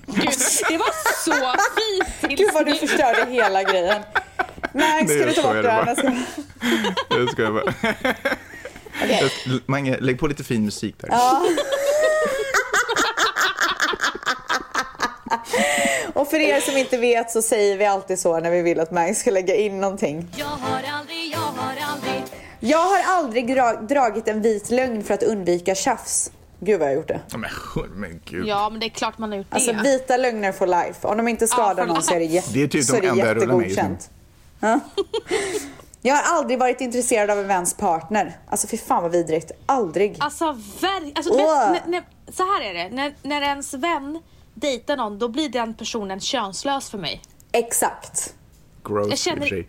Speaker 2: Gud, det var så fint tills
Speaker 1: gud vad du
Speaker 2: nu.
Speaker 1: förstörde hela grejen. Nej, ska
Speaker 3: jag
Speaker 1: du ta bort
Speaker 3: skojar
Speaker 1: det här?
Speaker 3: bara.
Speaker 1: Jag ska-
Speaker 3: Jag skojar bara.
Speaker 1: Okej.
Speaker 3: L- Mange, lägg på lite fin musik där.
Speaker 1: Och för er som inte vet så säger vi alltid så när vi vill att Mag ska lägga in någonting.
Speaker 4: Jag har aldrig, jag har aldrig
Speaker 1: Jag har aldrig dra- dragit en vit lögn för att undvika tjafs. Gud vad jag har gjort det.
Speaker 3: Men, men gud.
Speaker 2: Ja, men det är klart man har gjort
Speaker 1: Alltså
Speaker 2: det.
Speaker 1: vita lögner for life. Om de inte skadar
Speaker 2: Ja, for
Speaker 1: någon så är det, jä-
Speaker 3: Det är typ
Speaker 1: så
Speaker 3: de
Speaker 1: är det
Speaker 3: enda jag rullar med just nu.
Speaker 1: jättegodkänt.
Speaker 2: [laughs]
Speaker 1: Ja. Jag har aldrig varit intresserad av en väns partner. Alltså fy fan vad vidrigt. Aldrig.
Speaker 2: Alltså verkligen. Alltså,
Speaker 1: Åh.
Speaker 2: när, när, när, så här är det. När, när ens vän dejtar någon, då blir den personen könslös för mig.
Speaker 1: Exakt.
Speaker 3: Gross,
Speaker 2: Jag känner-
Speaker 3: i och för sig.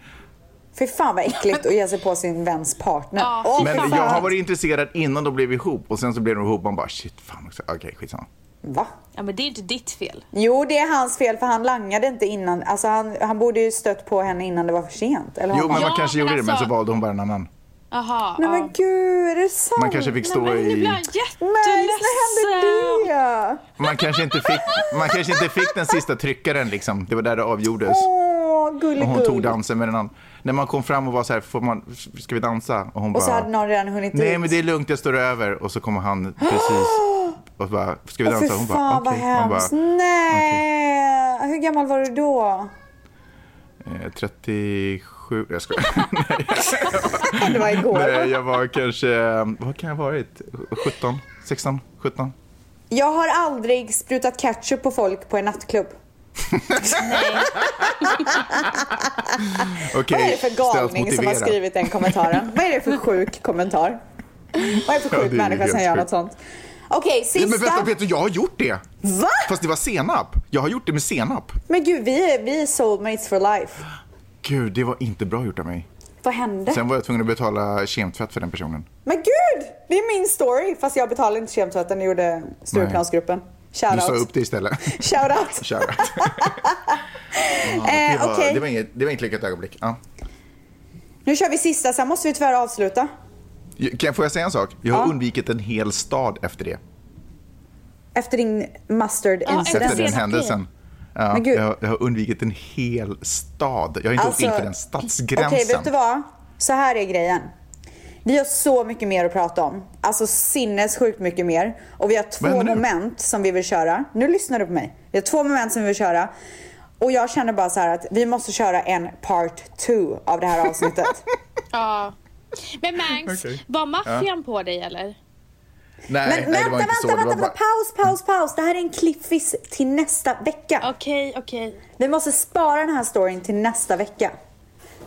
Speaker 1: Fy fan vad äckligt att ge sig på sin väns partner.
Speaker 2: Ja,
Speaker 1: Åh,
Speaker 2: fy
Speaker 1: fy
Speaker 3: Men
Speaker 1: fan.
Speaker 3: jag har varit intresserad innan de blev ihop och sen så blev de ihop man bara shit, fan också. Okej, skitsamma.
Speaker 1: Va?
Speaker 2: Ja, men det är ju inte ditt fel.
Speaker 1: Jo det är hans fel för han langade inte innan. Alltså han, han borde ju stött på henne innan det var för sent. Eller
Speaker 3: Jo,
Speaker 1: har
Speaker 3: men
Speaker 1: man-
Speaker 2: Ja,
Speaker 3: man kanske
Speaker 2: men
Speaker 3: gjorde det, men
Speaker 2: alltså-
Speaker 3: så valde hon bara en annan.
Speaker 2: Jaha.
Speaker 1: Nej
Speaker 2: ja.
Speaker 1: men gud, är det sant?
Speaker 3: Man kanske fick stå
Speaker 2: Nej, men nu
Speaker 3: i...
Speaker 2: blir jag
Speaker 1: Nej, när hände
Speaker 2: jätteledsen.
Speaker 1: det?
Speaker 3: Man kanske, inte fick, man kanske inte fick den sista tryckaren liksom. Det var där det avgjordes.
Speaker 1: Åh,
Speaker 3: Och hon tog
Speaker 1: gulligull.
Speaker 3: dansen med den andra. När man kom fram och var så här, Får man, ska vi dansa? Och hon
Speaker 1: Och
Speaker 3: bara,
Speaker 1: så hade någon redan hunnit
Speaker 3: nej
Speaker 1: ut.
Speaker 3: men det är lugnt, jag står över. Och så kommer han
Speaker 1: [gasps]
Speaker 3: precis och bara, ska vi
Speaker 1: Åh, fy
Speaker 3: dansa?
Speaker 1: Alltså, fan
Speaker 3: alltså, Hon bara,
Speaker 1: vad
Speaker 3: okej. Man
Speaker 1: hemskt. Nej! Hur gammal var du då?
Speaker 3: bara, eh, 37, jag skojar.
Speaker 1: [laughs]
Speaker 3: [laughs]
Speaker 1: Det var igår.
Speaker 3: nej, jag var kanske, eh, vad kan jag ha varit? 17, 16, 17?
Speaker 1: Jag har aldrig sprutat ketchup på folk på en nattklubb.
Speaker 3: Okej,
Speaker 1: Vad är det för
Speaker 3: ställt
Speaker 1: galning som har
Speaker 3: motiverat.
Speaker 1: skrivit den kommentaren? Vad är det för sjuk kommentar? Vad är det för
Speaker 3: Ja,
Speaker 1: sjuk
Speaker 3: det är
Speaker 1: människa som
Speaker 3: helt
Speaker 1: gör
Speaker 3: sjukt.
Speaker 1: något sånt? Okej,
Speaker 3: [laughs] Nej, men
Speaker 1: sista.
Speaker 3: vänta Peter, jag har gjort det!
Speaker 1: Va?
Speaker 3: Fast det var senap. Jag har gjort det med senap.
Speaker 1: Men gud, vi är, vi är soulmates for life.
Speaker 3: Gud, det var inte bra gjort av mig.
Speaker 1: Vad hände?
Speaker 3: Sen var jag tvungen att betala kemtvätt för den personen.
Speaker 1: Men gud! Det är min story. Fast jag betalade inte kemtvätten, det gjorde Stureplansgruppen.
Speaker 3: Du sa upp
Speaker 1: Shoutout.
Speaker 3: det istället. [laughs]
Speaker 1: Shoutout. [laughs]
Speaker 3: Kör.
Speaker 1: Eh,
Speaker 3: det, var,
Speaker 1: okej.
Speaker 3: det, var inget, det var inget lyckat ögonblick. Ja.
Speaker 1: Nu kör vi sista, sen måste vi tyvärr avsluta.
Speaker 3: Kan jag, får jag säga en sak? Jag har
Speaker 1: Ja.
Speaker 3: undvikit en hel stad efter det.
Speaker 1: Efter din mustard
Speaker 2: Ja,
Speaker 1: incident.
Speaker 3: Efter
Speaker 2: Den
Speaker 3: den
Speaker 2: senaste.
Speaker 3: händelsen. Ja,
Speaker 1: Men gud.
Speaker 3: jag, jag har undvikit en hel stad. Jag har inte
Speaker 1: Alltså,
Speaker 3: åkt in för den stadsgränsen.
Speaker 1: Okej, vet du vad? Så här är grejen. Vi har så mycket mer att prata om. Alltså sinnessjukt mycket mer. Och vi har två
Speaker 3: händer nu?
Speaker 1: moment som vi vill köra. Nu lyssnar du på mig. Vi har två moment som vi vill köra. Och jag känner bara så här att vi måste köra en part two av det här
Speaker 3: [laughs]
Speaker 1: avsnittet.
Speaker 2: Ja. Men Mangs,
Speaker 3: Okej.
Speaker 2: var maffian på dig eller?
Speaker 3: Nej,
Speaker 1: Men
Speaker 3: nej, det
Speaker 1: vänta,
Speaker 3: var inte
Speaker 1: vänta,
Speaker 3: så.
Speaker 1: vänta,
Speaker 3: det var
Speaker 1: vänta. Paus, paus, paus. Det här är en cliffis till nästa vecka.
Speaker 2: Okej, okej.
Speaker 1: Vi måste spara den här storyn till nästa vecka.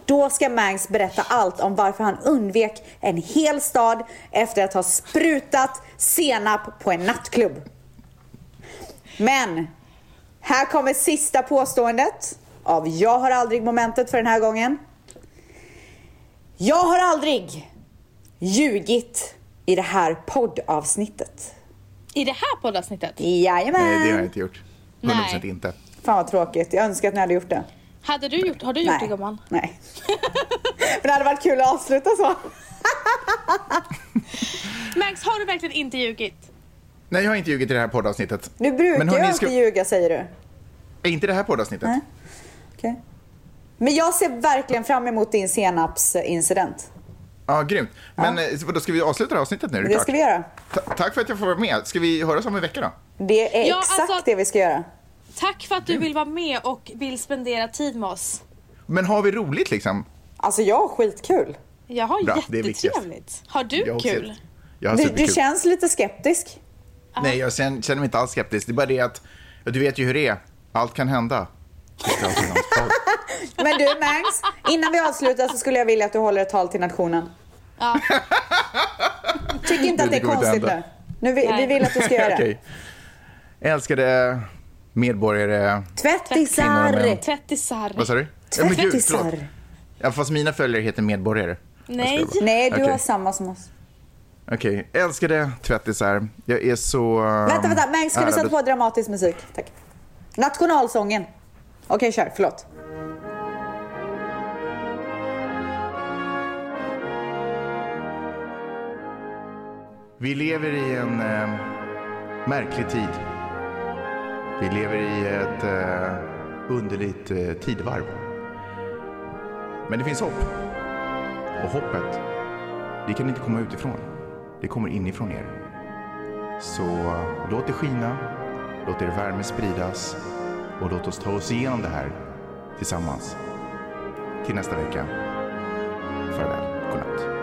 Speaker 1: Då ska Mangs berätta allt om varför han undvek en hel stad efter att ha sprutat senap på en nattklubb. Men, här kommer sista påståendet av Jag har aldrig momentet för den här gången. Jag har aldrig ljugit i det här poddavsnittet.
Speaker 2: I det här poddavsnittet?
Speaker 1: Jajamän!
Speaker 3: Nej, det har jag inte gjort. 100%
Speaker 2: Nej.
Speaker 3: inte.
Speaker 1: Fan vad tråkigt, jag önskar att ni hade gjort det.
Speaker 2: Hade du gjort, har du gjort det gumman? [laughs]
Speaker 1: Nej. Men det hade varit kul att avsluta så.
Speaker 2: Mangs, har du verkligen inte ljugit?
Speaker 3: Nej, jag har inte ljugit i det här poddavsnittet.
Speaker 1: Du brukar
Speaker 3: Men
Speaker 1: ju
Speaker 3: hörni,
Speaker 1: inte
Speaker 3: ska-
Speaker 1: ljuga säger du.
Speaker 3: Är inte det här poddavsnittet?
Speaker 1: Nej. Okej. Men jag ser verkligen fram emot din senapsincident.
Speaker 3: Ja, grymt. Men eh, då ska vi avsluta det här avsnittet nu? är
Speaker 1: Det
Speaker 3: klart?
Speaker 1: ska vi göra.
Speaker 3: Ta- tack för att jag får vara med. Ska vi höras om en vecka då?
Speaker 1: Det är
Speaker 2: Ja,
Speaker 1: exakt
Speaker 2: alltså-
Speaker 1: det vi ska göra.
Speaker 2: Tack för att du vill vara med och vill spendera tid med oss.
Speaker 3: Men har vi roligt liksom?
Speaker 1: Alltså jag har skitkul.
Speaker 2: Jag har
Speaker 3: Bra, det är viktigast.
Speaker 2: jättetrevligt. Har du
Speaker 3: Jag har också
Speaker 2: kul?
Speaker 3: jätte- Jag har
Speaker 1: Du,
Speaker 3: superkul.
Speaker 1: du känns lite skeptisk.
Speaker 3: Nej, jag känner, känner mig inte alls skeptisk. Det är bara det att, ja, du vet ju hur det är. Allt kan hända.
Speaker 1: Men
Speaker 2: [laughs]
Speaker 1: du Mangs, innan vi avslutar så skulle jag vilja att du håller ett tal till nationen.
Speaker 2: Ja.
Speaker 1: Tyck inte att det
Speaker 3: Det
Speaker 1: är
Speaker 3: kommer inte
Speaker 1: konstigt nu.
Speaker 3: hända.
Speaker 1: nu vi, vi
Speaker 2: Nej.
Speaker 1: vill att du ska göra [laughs] det.
Speaker 3: [laughs] Okej. Älskade medborgare... Kvinnor och
Speaker 1: Tvättisar!
Speaker 3: män. Vad sa du? Ja, men gud,
Speaker 1: Tvättisar.
Speaker 3: förlåt. ja, fast mina följare heter medborgare.
Speaker 2: Nej.
Speaker 1: Nej, du
Speaker 3: Okej.
Speaker 1: har samma som oss.
Speaker 3: Okej, älskade tvättisar. Jag är så...
Speaker 1: Vänta, vänta. Men ska vi sätta
Speaker 3: ärad-
Speaker 1: på dramatisk musik? Tack. Nationalsången. Okej, kör. Förlåt.
Speaker 3: Vi lever i en eh, märklig tid. Vi lever i ett eh, underligt eh, tidvarv. Men det finns hopp. Och hoppet, det kan inte komma utifrån. Det kommer inifrån er. Så eh, låt det skina, låt er värme spridas och låt oss ta oss igenom det här tillsammans. Till nästa vecka. Farväl, godnatt.